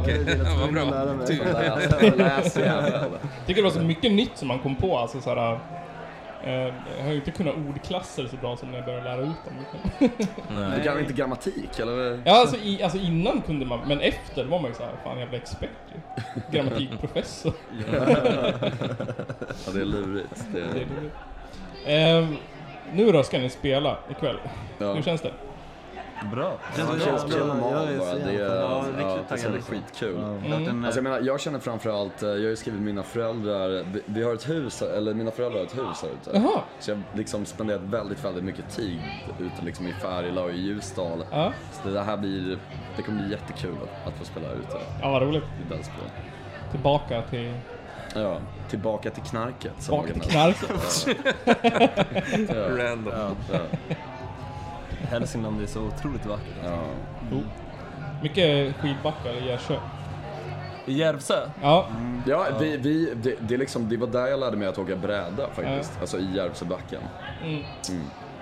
Speaker 4: Okej, ja, vad bra.
Speaker 8: lära mig.
Speaker 4: Tur.
Speaker 5: Läs jävlar.
Speaker 3: Jag tycker det var så mycket nytt som man kom på. Alltså, så här, eh, jag har ju inte kunnat ordklasser så bra som när jag började lära ut dem.
Speaker 5: Du kan inte grammatik eller?
Speaker 3: Ja, alltså, i, alltså innan kunde man, men efter var man ju såhär, fan jag blev expert ju. Grammatikprofessor.
Speaker 5: Ja, det är lurigt. Det
Speaker 3: Det är det. Eh, nu då ska ni spela ikväll.
Speaker 5: Ja.
Speaker 3: Hur känns det?
Speaker 8: Bra.
Speaker 5: Han känns så jävla normal bara. Det är,
Speaker 6: Ja,
Speaker 5: ja,
Speaker 6: riktigt
Speaker 5: alltså,
Speaker 6: taggad
Speaker 5: det är
Speaker 6: liksom.
Speaker 5: skitkul.
Speaker 6: Klart en,
Speaker 5: Alltså jag menar, jag känner framförallt, eh, jag har ju skrivit mina föräldrar, vi, vi har ett hus, eller mina föräldrar har ett hus här ute.
Speaker 3: Jaha.
Speaker 5: Så jag har liksom spenderat väldigt, väldigt mycket tid ute liksom i Färila och i Ljusdal.
Speaker 3: Ja,
Speaker 5: Så det här blir, det kommer bli jättekul att, att få spela här ute
Speaker 3: ja vad roligt.
Speaker 5: i Delsbo.
Speaker 3: Tillbaka till,
Speaker 5: Ja, tillbaka till knarket. som
Speaker 3: tillbaka till
Speaker 5: Agnes-
Speaker 3: knarket.
Speaker 4: Random.
Speaker 5: Ja,
Speaker 7: Hälsingland är så otroligt vackert.
Speaker 5: ja.
Speaker 3: Mycket skidbackar i Gärsjö.
Speaker 7: I Järvsö?
Speaker 3: Ja,
Speaker 5: ja vi, vi, det, det, är liksom, det var där jag lärde mig att åka bräda faktiskt. Alltså i Järvsöbacken.
Speaker 3: men,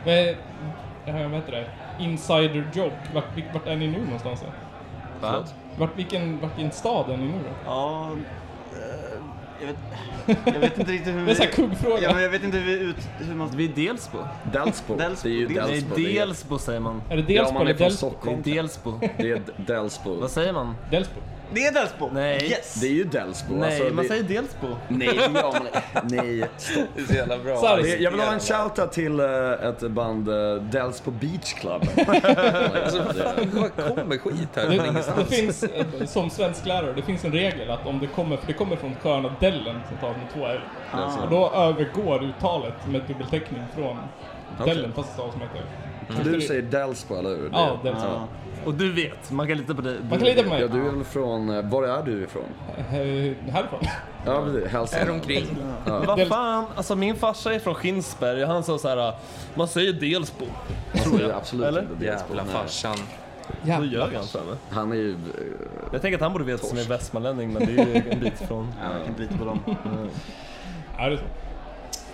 Speaker 3: eh, vad heter det? Insider joke. Vart, vil- vart är ni nu någonstans? då?
Speaker 6: va?
Speaker 3: Vart, vilken, vart vilken stad är ni nu då?
Speaker 6: Ja, eh, jag vet, jag vet inte riktigt hur
Speaker 3: Det är en sån här
Speaker 6: vi...
Speaker 3: kuggfråga.
Speaker 6: Ja, men jag vet inte hur, vi ut, hur man...
Speaker 7: Vi är Delsbo.
Speaker 5: Delsbo,
Speaker 6: Delsbo,
Speaker 5: det är ju
Speaker 6: Delsbo.
Speaker 7: Nej,
Speaker 5: Delsbo. det är-
Speaker 7: Delsbo säger man.
Speaker 3: Är det
Speaker 5: Ja,
Speaker 3: Delsbo
Speaker 5: man är
Speaker 3: eller
Speaker 5: från
Speaker 3: Delsbo?
Speaker 7: Det är
Speaker 5: Stockholm.
Speaker 7: Delsbo.
Speaker 5: Det är D- Delsbo.
Speaker 7: Vad säger man?
Speaker 3: Delsbo?
Speaker 6: Det är Delsbo!
Speaker 7: Nej.
Speaker 6: Yes!
Speaker 5: Det är ju Delsbo.
Speaker 7: Nej,
Speaker 5: alltså,
Speaker 7: man
Speaker 5: det...
Speaker 7: säger Delsbo.
Speaker 5: Nej, det gör man inte. Nej, stopp.
Speaker 4: Det är så jävla bra.
Speaker 3: Sorry.
Speaker 5: Det, jag vill ha en shoutout till eh, ett band, eh, Delsbo Beach Club.
Speaker 4: Alltså, fan, vad kommer skit här från
Speaker 3: Det, det
Speaker 4: ingenstans?
Speaker 3: finns, eh, som svensk lärare, det finns en regel att om det kommer, för det kommer från sköna dellen som tar med två L. Och då övergår uttalet med dubbelteckning från dellen fast det stavas som ett L.
Speaker 5: du säger Delsbo, eller hur?
Speaker 3: Ja, Delsbo.
Speaker 7: Och du vet, man kan lita på dig.
Speaker 3: Man kan lita på mig.
Speaker 5: Ja, du är väl från, eh, var är du ifrån?
Speaker 3: Eh, Härifrån.
Speaker 5: Ja, precis. Hälsingland.
Speaker 4: Här omkring.
Speaker 7: Vad fan, alltså min farsa är från Skinsberg och han sa så här, man säger Delsbo.
Speaker 5: Man säger absolut
Speaker 7: Eller?
Speaker 5: inte Delsbo.
Speaker 4: Jävla
Speaker 5: nej.
Speaker 4: farsan.
Speaker 7: Då gör han så här, va?
Speaker 5: Han är ju... eh,
Speaker 7: Jag tänker att han borde veta som är västmanlänning men det är ju en bit från.
Speaker 6: Jag kan inte lita på dem.
Speaker 3: Ja, det är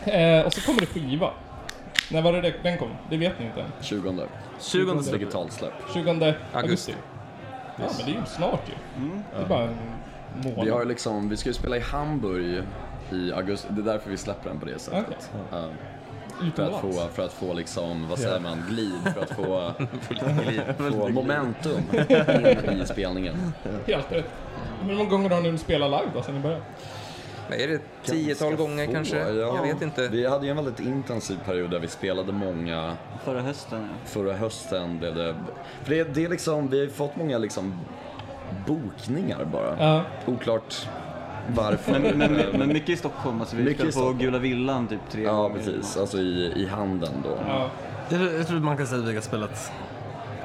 Speaker 3: så. Eh, och så kommer det skiva. När var det det- den kom? Det vet ni inte än.
Speaker 5: 20.
Speaker 7: 20
Speaker 5: Digitalt släpp.
Speaker 3: 20
Speaker 4: Augusti.
Speaker 3: augusti. Ja, men det är ju snart ju. Det är bara en månad.
Speaker 5: Mm. Vi har ju liksom, vi ska ju spela i Hamburg i augusti. Det är därför vi släpper den på det sättet. Ja. För att, få,
Speaker 3: Utomlands.
Speaker 5: för att få liksom, vad säger man, glid, för att få, få momentum in i spelningen.
Speaker 3: Helt rätt. Hur många gånger har ni spelat live då, sen ni började?
Speaker 4: Men Är det tiotal
Speaker 5: Ganska
Speaker 4: gånger
Speaker 5: få,
Speaker 4: kanske?
Speaker 5: ja.
Speaker 4: Jag vet inte.
Speaker 5: Vi hade ju en väldigt intensiv period där vi spelade många.
Speaker 6: Förra hösten, ja.
Speaker 5: Förra hösten blev det... För det, det är liksom, vi har ju fått många liksom bokningar bara.
Speaker 3: Ja.
Speaker 5: Oklart varför.
Speaker 6: Men, men, men mycket i Stockholm, alltså vi
Speaker 5: Mycket i
Speaker 6: spelade på
Speaker 5: Stockholm.
Speaker 6: Gula Villan typ tre
Speaker 5: ja,
Speaker 6: gånger.
Speaker 5: precis. Alltså i, i handen då.
Speaker 3: Ja.
Speaker 7: Jag tror- jag tror man kan säga att vi har spelat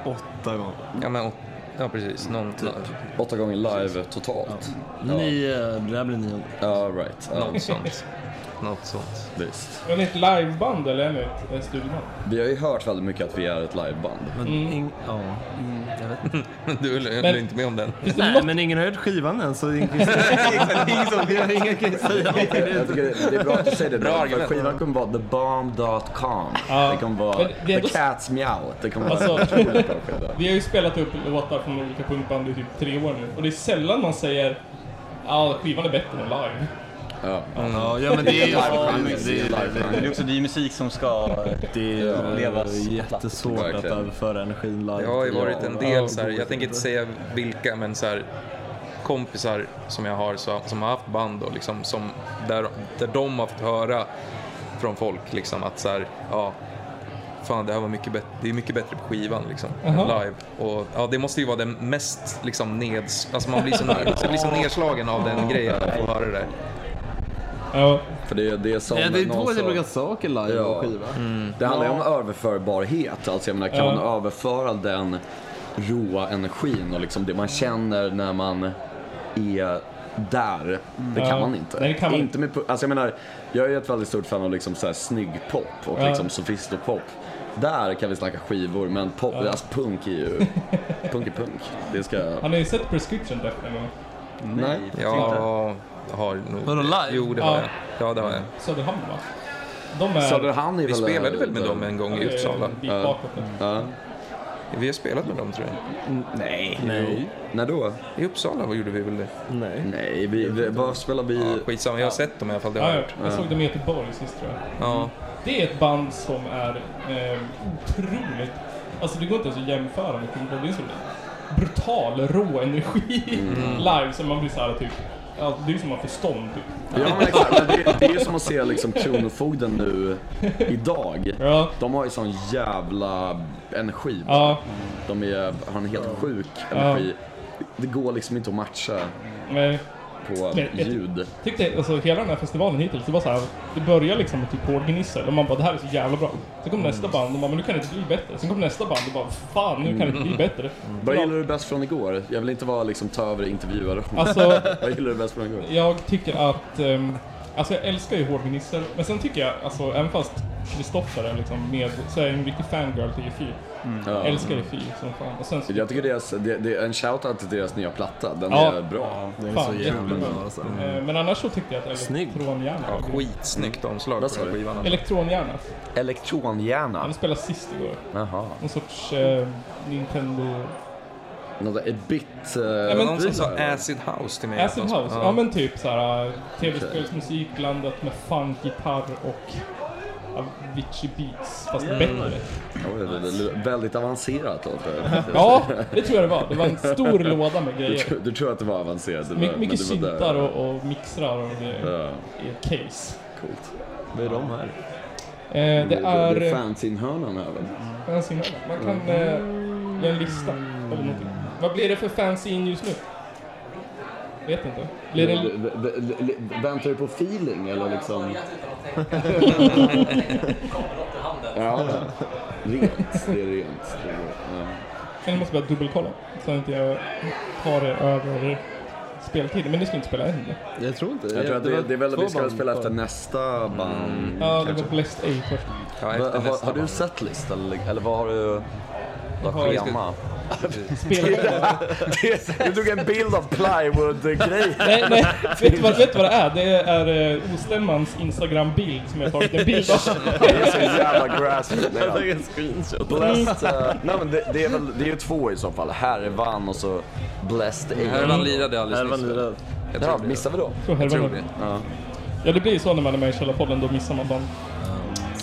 Speaker 7: åtta gånger.
Speaker 4: Ja, men, ja precis. Någon,
Speaker 5: Typ. Åtta gånger live totalt.
Speaker 7: Nio, eh, det här blir nio.
Speaker 5: Ja, right. Ja,
Speaker 4: något sånt. Något sånt.
Speaker 5: visst.
Speaker 3: Är ni ett liveband eller är ni ett ett studioband?
Speaker 5: Vi har ju hört väldigt mycket att vi är ett liveband.
Speaker 7: Men ing- ja. jag vet inte.
Speaker 4: Men du höll höll inte med om den.
Speaker 7: Nej, men ingen har hört skivan än så ingen kan säga ingen kan säga någonting.
Speaker 5: Jag tycker det, det är bra att du säger det.
Speaker 4: Bra
Speaker 5: Bra
Speaker 4: argument.
Speaker 5: skivan kommer vara thebomb.com.
Speaker 3: Ja.
Speaker 5: Det kommer
Speaker 3: Men
Speaker 5: vara
Speaker 3: det är
Speaker 5: The
Speaker 3: ändå-
Speaker 5: Cat's Meow. Det kommer vara
Speaker 3: Alltså-
Speaker 5: en otroligt bra skiva.
Speaker 3: Vi har ju spelat upp låtar från olika punkband i typ tre år nu och det är sällan man säger ja, skivan är bättre än live.
Speaker 5: Ja.
Speaker 7: Ja, ja, men det är ju...
Speaker 5: Det är
Speaker 6: Men det är
Speaker 5: live.
Speaker 6: också, det är ju musik som ska eh,
Speaker 7: Det
Speaker 5: Ja.
Speaker 7: är
Speaker 6: levas.
Speaker 7: jättesvårt att
Speaker 5: Verkligen.
Speaker 7: överföra energin live.
Speaker 4: Det har ju varit en
Speaker 3: Ja,
Speaker 4: del, så här, jag tänker inte säga vilka, men så här, kompisar som jag har så, som har haft band och liksom, som, där, där de har fått höra från folk liksom, att så här, ja, fan det här var mycket bättre, det är mycket bättre på skivan liksom, än
Speaker 3: Aha.
Speaker 4: live. Och ja, det måste ju vara den mest liksom neds, alltså man blir så, jag blir så nedslagen av den grejen att få höra det där.
Speaker 3: Ja.
Speaker 5: För det, är- det är som
Speaker 7: Ja, det är två
Speaker 5: någon
Speaker 7: helt
Speaker 5: sa-
Speaker 7: olika saker live
Speaker 5: Ja.
Speaker 7: och skiva.
Speaker 5: Det handlar ju om överförbarhet. Alltså jag menar, kan
Speaker 3: Ja.
Speaker 5: man överföra den råa energin och liksom det man känner när man är där. Det
Speaker 3: Ja.
Speaker 5: kan man inte.
Speaker 3: Nej, det kan man
Speaker 5: inte med, pu- alltså jag menar, jag är ju ett väldigt stort fan av liksom så här snygg pop och
Speaker 3: Ja.
Speaker 5: liksom sofistopop. Där kan vi snacka skivor, men pop, alltså punk är ju, punk är punk. Det ska,
Speaker 3: Har ni sett Prescription Death någon gång?
Speaker 5: nej.
Speaker 4: Jag har nog...
Speaker 7: Vadå, live?
Speaker 4: Jo, det
Speaker 3: Ja.
Speaker 4: har jag. Ja, det har jag.
Speaker 3: Söderhamn va? De är...
Speaker 5: Söderhamn är
Speaker 4: Vi spelade väl med dem en gång i
Speaker 3: det är
Speaker 4: Uppsala?
Speaker 3: en bit bakåt nu.
Speaker 5: Ja.
Speaker 4: Vi har spelat med dem tror jag.
Speaker 5: Nej. Nej. När då?
Speaker 4: I Uppsala vad gjorde vi väl det?
Speaker 5: Nej, vi, vi, vad spelar vi?
Speaker 4: Ja, skitsamma, jag har sett dem i alla fall. Det har
Speaker 3: Ja,
Speaker 4: jag
Speaker 3: ja.
Speaker 4: hört.
Speaker 3: Jag såg dem i Göteborg sist tror jag.
Speaker 4: Ja.
Speaker 3: Det är ett band som är eh, otroligt... Alltså det går inte ens att jämföra med Queen Bob. Det är så brutal, rå energi
Speaker 5: Mm.
Speaker 3: live som man blir såhär typ... Ja, det är som att man får stånd typ.
Speaker 5: Ja, men exakt. Men det, det är ju som att se liksom Kronofogden nu idag.
Speaker 3: Ja.
Speaker 5: De har ju sån jävla energi.
Speaker 3: Ja,
Speaker 5: De är, har en helt sjuk energi. Det går liksom inte att matcha
Speaker 3: men
Speaker 5: på
Speaker 3: Men ett-
Speaker 5: ljud.
Speaker 3: tyckte Eh, alltså hela den här festivalen hittills, det var såhär... Det börjar liksom med typ hårdgnissel och man bara det här är så jävla bra. Sen kom
Speaker 5: Mm.
Speaker 3: nästa band och man bara men nu kan det inte bli bättre. Sen kom nästa band och bara fan nu kan det inte bli bättre.
Speaker 5: Mm. Vad gillar du bäst från igår? Jag vill inte vara liksom ta över intervjuare.
Speaker 3: Alltså
Speaker 5: Vad gillar du bäst från igår?
Speaker 3: Jag tycker att... ehm, alltså jag älskar ju hårdminister, men sen tycker jag, alltså även fast Kristoffer är liksom med, så är jag en riktig fangirl till EFY.
Speaker 5: Ja.
Speaker 3: Älskar EFY som fan. Och sen så...
Speaker 5: Jag tycker deras, det, det är en shoutout till deras nya platta. Den
Speaker 3: Ja.
Speaker 5: är bra.
Speaker 8: Den är
Speaker 3: Fan,
Speaker 8: så jävla
Speaker 3: jättebra.
Speaker 8: bra alltså.
Speaker 3: Eh, Men annars så tyckte jag att
Speaker 8: Snygg.
Speaker 3: Elektronhjärna
Speaker 4: Ja,
Speaker 3: var grym.
Speaker 4: skitsnyggt omslag på
Speaker 5: Vad sa
Speaker 4: den här
Speaker 5: du?
Speaker 4: skivan. alltså.
Speaker 3: Elektronhjärna.
Speaker 5: Elektronhjärna.
Speaker 3: Han spelade sist igår.
Speaker 5: Jaha.
Speaker 3: Någon sorts eh, Nintendo...
Speaker 5: Något där, ett bit... eh,
Speaker 4: Det var
Speaker 3: men
Speaker 4: någon som sa
Speaker 5: prylar.
Speaker 4: Acid House till mig.
Speaker 3: Acid
Speaker 4: att de-
Speaker 3: House. Ja men typ såhär tv-spelsmusik blandat med funk, gitarr och Avicii Beats, fast bättre.
Speaker 5: Oj, det är Väldigt avancerat låter
Speaker 3: Ja, det tror jag det var. Det var en stor låda med
Speaker 5: Du,
Speaker 3: grejer.
Speaker 5: tror- du tror att det var avancerat? Det var,
Speaker 3: My, mycket
Speaker 5: men det var
Speaker 3: syntar
Speaker 5: där.
Speaker 3: och, och mixrar och det
Speaker 5: Ja,
Speaker 3: i ett case.
Speaker 5: coolt. Vad är de
Speaker 3: Eh,
Speaker 5: här? Mm.
Speaker 3: det
Speaker 5: Det är
Speaker 3: är...
Speaker 5: fanzine-hörnan här väl?
Speaker 3: Man kan, man
Speaker 5: Mm.
Speaker 3: kan eh, göra en lista eller någonting. Vad blir det för fanzine just nu? Vet inte. Blir det...
Speaker 5: V- v- v- Väntar du på feeling eller liksom? ja, rent. Det är rent. Det är- ja.
Speaker 3: Jag måste bara dubbelkolla så att inte jag tar det över speltiden. Men det skulle inte spela än.
Speaker 8: Jag tror inte
Speaker 5: Jag tror att det, det är väl
Speaker 8: två
Speaker 5: vi ska
Speaker 8: band
Speaker 5: spela efter
Speaker 8: kvar.
Speaker 5: nästa band.
Speaker 3: Ja, det
Speaker 5: kanske.
Speaker 3: var Blessed A först.
Speaker 4: Ja,
Speaker 5: Va-
Speaker 4: efter
Speaker 5: Mm. har,
Speaker 4: nästa
Speaker 5: har du
Speaker 4: band.
Speaker 5: sett listan eller, eller vad har du? Vad
Speaker 3: har-
Speaker 5: schema?
Speaker 3: Spela.
Speaker 5: Du tog en bild av plywood-grejen.
Speaker 3: nej, nej. Vet du, vad, vet du vad det är? Det är eh, Ostämmans Instagram-bild som jag har tagit en bild av.
Speaker 5: Det är så jävla grassroot. Nej, då.
Speaker 8: Det är en screenshot.
Speaker 5: Blessed, eh, nej men det, det är väl, det är ju två i så fall. Härvan och så Blessed A.
Speaker 4: Härvan lirade alldeles
Speaker 8: Härvan
Speaker 4: nyss.
Speaker 8: lirade.
Speaker 4: Jag
Speaker 5: Ja,
Speaker 4: tror det.
Speaker 5: missar vi då?
Speaker 3: Så
Speaker 4: Jag
Speaker 3: helvete.
Speaker 4: tror det.
Speaker 3: Ja, det blir ju så när man är med i Källarpodden, då missar man band.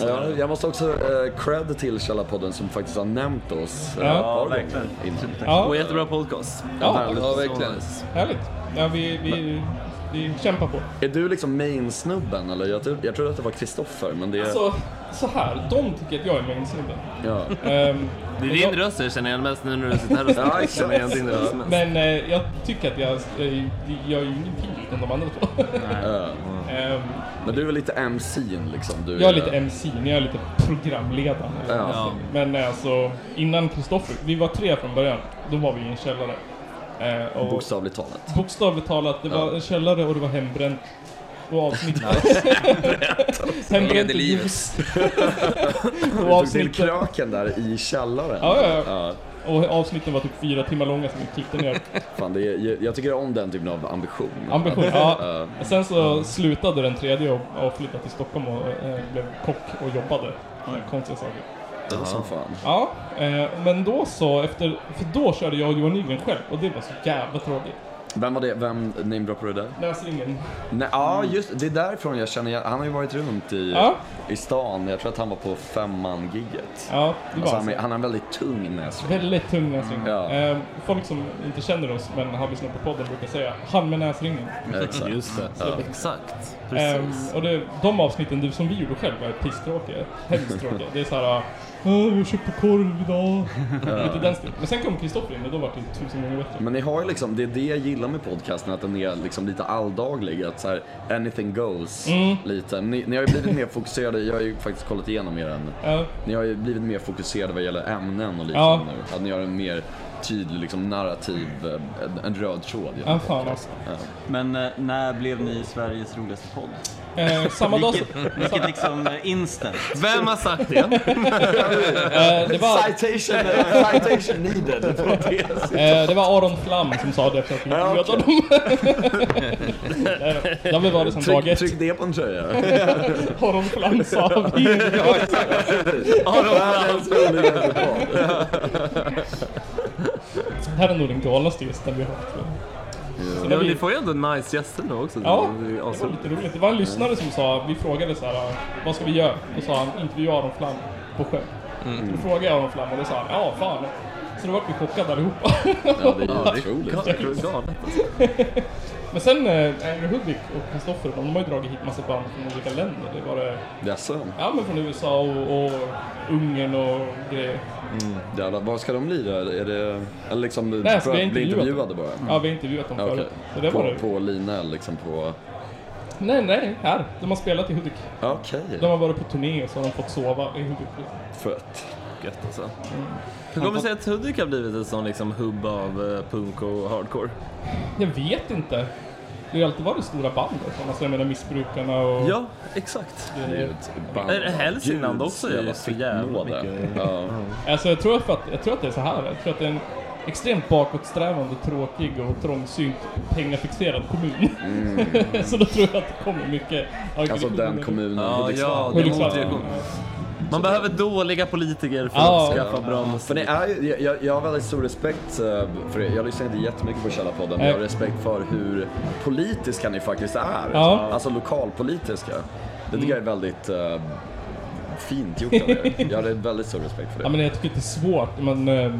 Speaker 5: Ja, jag måste också eh, cred till Källarpodden som faktiskt har nämnt oss. eh,
Speaker 3: Ja.
Speaker 5: ett par gånger innan.
Speaker 3: Ja,
Speaker 8: Och jättebra podcast.
Speaker 3: ja
Speaker 4: Ja, verkligen.
Speaker 3: härligt. Ja, vi, vi, vi kämpar på.
Speaker 5: Är du liksom main-snubben eller? Jag, tror- jag trodde att det var Kristoffer men det...
Speaker 3: Så, så här, de tycker att jag är mainsnubben.
Speaker 5: Ja.
Speaker 3: Ehm,
Speaker 7: Det är din röst jag känner igen mest nu när du sitter här och
Speaker 5: Ja,
Speaker 7: snackar. Jag känner igen din röst mest.
Speaker 3: men eh, jag tycker att jag, eh, jag är ju ingen pil än de andra två.
Speaker 5: Ja.
Speaker 3: Ehm,
Speaker 5: Men du är lite MC'n liksom. Du
Speaker 3: jag är lite MC, jag är lite programledare.
Speaker 5: Ja.
Speaker 3: Men eh, alltså, innan Kristoffer, vi var tre från början, då var vi i en källare. Eh, och
Speaker 5: Bokstavligt talat.
Speaker 3: bokstavligt talat, det var en källare och det var hembränt. Och avsnittet...
Speaker 4: Leder
Speaker 3: hembränt
Speaker 4: livet.
Speaker 3: ljus.
Speaker 5: Du
Speaker 3: och
Speaker 5: tog till
Speaker 3: avsnittet...
Speaker 5: kröken där i källaren.
Speaker 3: Ja, ja, ja. Och avsnitten var typ fyra timmar långa som vi klippte ner.
Speaker 5: Fan, det är, jag- jag tycker om den typen av ambition.
Speaker 3: Ambition, ja. Sen så slutade den tredje och, och flyttade till Stockholm och eh, blev kock och jobbade. Mm. Konstiga saker.
Speaker 5: Det var som fan.
Speaker 3: Ja, eh, men då så, efter, för då körde jag Johan Nygren själv och det var så jävla tråkigt.
Speaker 5: Vem var det? Vem namedroppade du där?
Speaker 3: Läser ingen.
Speaker 5: Nej, ja, just det. är därifrån jag känner igen. Han har ju varit runt i,
Speaker 3: Ja.
Speaker 5: i stan. Jag tror att han var på femman-gigget.
Speaker 3: Ja, det var
Speaker 5: Alltså, han, är-
Speaker 3: alltså.
Speaker 5: han har en väldigt tung näsring.
Speaker 3: Väldigt tung näsring.
Speaker 5: Ja.
Speaker 3: Eh, folk som inte känner oss men har lyssnat på podden brukar säga han med näsringen.
Speaker 5: Exakt.
Speaker 8: Just det.
Speaker 7: Exakt,
Speaker 3: Ehm,
Speaker 7: precis.
Speaker 3: och det, de avsnitten du, som vi gjorde själva är pisstråkiga. Hemskt tråkiga. Det är såhär, "Åh, vi köpte korv idag. Lite den stilen. Men sen kom Kristoffer in och då var det typ tusen gånger bättre.
Speaker 5: Men ni har ju liksom, det är det jag gillar med podcasten, att den är liksom lite alldaglig. Att så här, anything goes.
Speaker 3: Mm.
Speaker 5: Lite. Ni, ni har ju blivit mer fokuserade, jag har ju faktiskt kollat igenom er än.
Speaker 3: Ja,
Speaker 5: Ni har ju blivit mer fokuserade vad gäller ämnen och
Speaker 3: Ja.
Speaker 5: liknande nu. Att ni har en mer tydlig liksom, narrativ, eh, en röd tråd. genom
Speaker 3: Ja, fan,
Speaker 5: det.
Speaker 3: alltså.
Speaker 6: Men eh, när blev ni Sveriges roligaste podd?
Speaker 3: Eh, samma dag som...
Speaker 6: Vilket liksom eh, instant.
Speaker 7: Vem har sagt det?
Speaker 3: Eh, det, var,
Speaker 5: Citation, eh, citation needed. på det.
Speaker 3: eh, det var Aron Flam som sa det. för att vi
Speaker 5: Ja,
Speaker 3: möta dem. Nej, då. Det har vi varit sedan dag
Speaker 5: Tryck,
Speaker 3: ett.
Speaker 5: tryck det på en tröja.
Speaker 3: Aron Flam sa vi.
Speaker 5: Världens roligaste podd.
Speaker 3: Det här är nog den galnaste gästen vi har haft. tror jag. Sen
Speaker 7: Ja,
Speaker 3: har
Speaker 7: men ni
Speaker 3: vi,
Speaker 7: får ju ändå nice gäster nu också.
Speaker 3: Ja,
Speaker 7: Det är ju
Speaker 3: det var
Speaker 7: asroligt.
Speaker 3: lite roligt. Det var en lyssnare som sa, vi frågade så här, vad ska vi göra? Då sa han, intervjua Aron Flam på sjön.
Speaker 5: Mm.
Speaker 3: Då frågade jag Aron Flam och då sa han, ja fan. Så då vart vi chockade allihopa.
Speaker 5: Ja, det är otroligt.
Speaker 7: Galet, galet.
Speaker 3: Men sen eh, Andrew Hudik och Kristoffer, de har ju dragit hit massa band från olika länder. Det var det,
Speaker 5: Jaså?
Speaker 3: ja men från USA och, och Ungern och grejer.
Speaker 5: Jävlar, vad ska de lira? Är det... Eller liksom,
Speaker 3: ska jag
Speaker 5: för att bli
Speaker 3: intervjua
Speaker 5: intervjuade bara?
Speaker 3: Ja, vi har intervjuat dem
Speaker 5: Ja,
Speaker 3: förut.
Speaker 5: Okej.
Speaker 3: Så det var
Speaker 5: På,
Speaker 3: det.
Speaker 5: på lina eller liksom på...
Speaker 3: Nej, nej, här. De har spelat i Hudik.
Speaker 5: Ja, Okej.
Speaker 3: De har varit på turné och så har de fått sova i Hudik.
Speaker 5: Fett.
Speaker 7: Gött alltså. Hur kommer det sig att Hudik har blivit en sån liksom hubb av eh, punk och hardcore?
Speaker 3: Jag vet inte. Det har ju alltid varit stora band. alltså, och sådana, så jag menar Missbrukarna och...
Speaker 7: Ja, exakt.
Speaker 5: Det är ju ett band.
Speaker 7: Är det Hälsingland också?
Speaker 5: Gud,
Speaker 7: Det är så jävla
Speaker 5: nåda.
Speaker 7: mycket.
Speaker 5: Ja.
Speaker 3: Alltså jag tror, att, jag tror att det är så här. Jag tror att det är en extremt bakåtsträvande, tråkig och trångsynt pengafixerad kommun. så då tror jag att det kommer mycket
Speaker 5: Mm. Alltså den kommunen, Liksom-
Speaker 7: Ja,
Speaker 5: Hudiksvall.
Speaker 7: ja, det är
Speaker 3: Hudiksvall.
Speaker 7: motreaktion. Man behöver dåliga politiker för
Speaker 3: Ja.
Speaker 7: att skaffa bra musik.
Speaker 5: För ni är ju, jag- jag, jag har väldigt stor respekt eh, för er. Jag lyssnar inte jättemycket på Källarpodden, men jag har
Speaker 3: Nej.
Speaker 5: respekt för hur politiska ni faktiskt är.
Speaker 3: Ja. Mm.
Speaker 5: Alltså lokalpolitiska. Det tycker jag är väldigt eh, fint gjort av er. Jag har väldigt stor respekt för det.
Speaker 3: Ja, men jag tycker att det är svårt, men eh,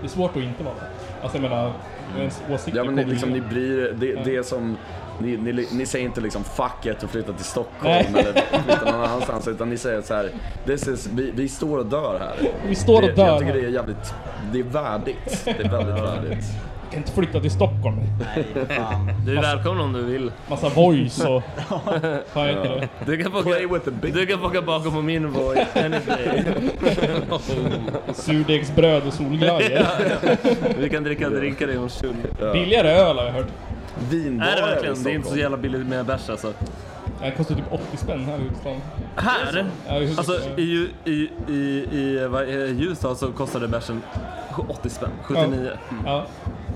Speaker 3: det är svårt att inte vara det. Alltså jag menar, ens åsikter
Speaker 5: Ja men ni,
Speaker 3: kommer
Speaker 5: liksom,
Speaker 3: ju-
Speaker 5: ni bryr det, det är som, ni, ni, ni säger inte liksom fuck it och flytta till Stockholm
Speaker 3: Nej.
Speaker 5: eller flytta någon annanstans utan ni säger så här, this is, vi, vi står och dör här.
Speaker 3: Vi står och
Speaker 5: Det, jag
Speaker 3: dör.
Speaker 5: tycker
Speaker 3: här.
Speaker 5: det är jävligt, det är värdigt. Det är väldigt värdigt.
Speaker 3: Jag kan inte flytta till Stockholm.
Speaker 6: Nej, fan.
Speaker 7: Du är välkommen om du vill.
Speaker 3: Massa voice och... Fan, jag heter det.
Speaker 7: Du kan
Speaker 5: Play
Speaker 7: plocka,
Speaker 5: with the big
Speaker 7: du kan plocka bakom på min boy any day.
Speaker 3: Surdegsbröd och solglajjor.
Speaker 7: Vi kan dricka drinkar i Hornstull.
Speaker 3: Billigare öl har jag hört.
Speaker 5: vinbarer
Speaker 7: Är det
Speaker 5: i
Speaker 7: verkligen? Det är
Speaker 5: Stockholm.
Speaker 7: inte så jävla billigt med bärs alltså.
Speaker 3: Det kostar typ 80 spänn här i Hudiksvall.
Speaker 7: Här?
Speaker 3: Ja, i Hudiksvall.
Speaker 7: Alltså i, ju- i, i, i, vad- i Ljusdal så kostade bärsen 80 spänn, 79.
Speaker 5: Mm.
Speaker 3: Ja,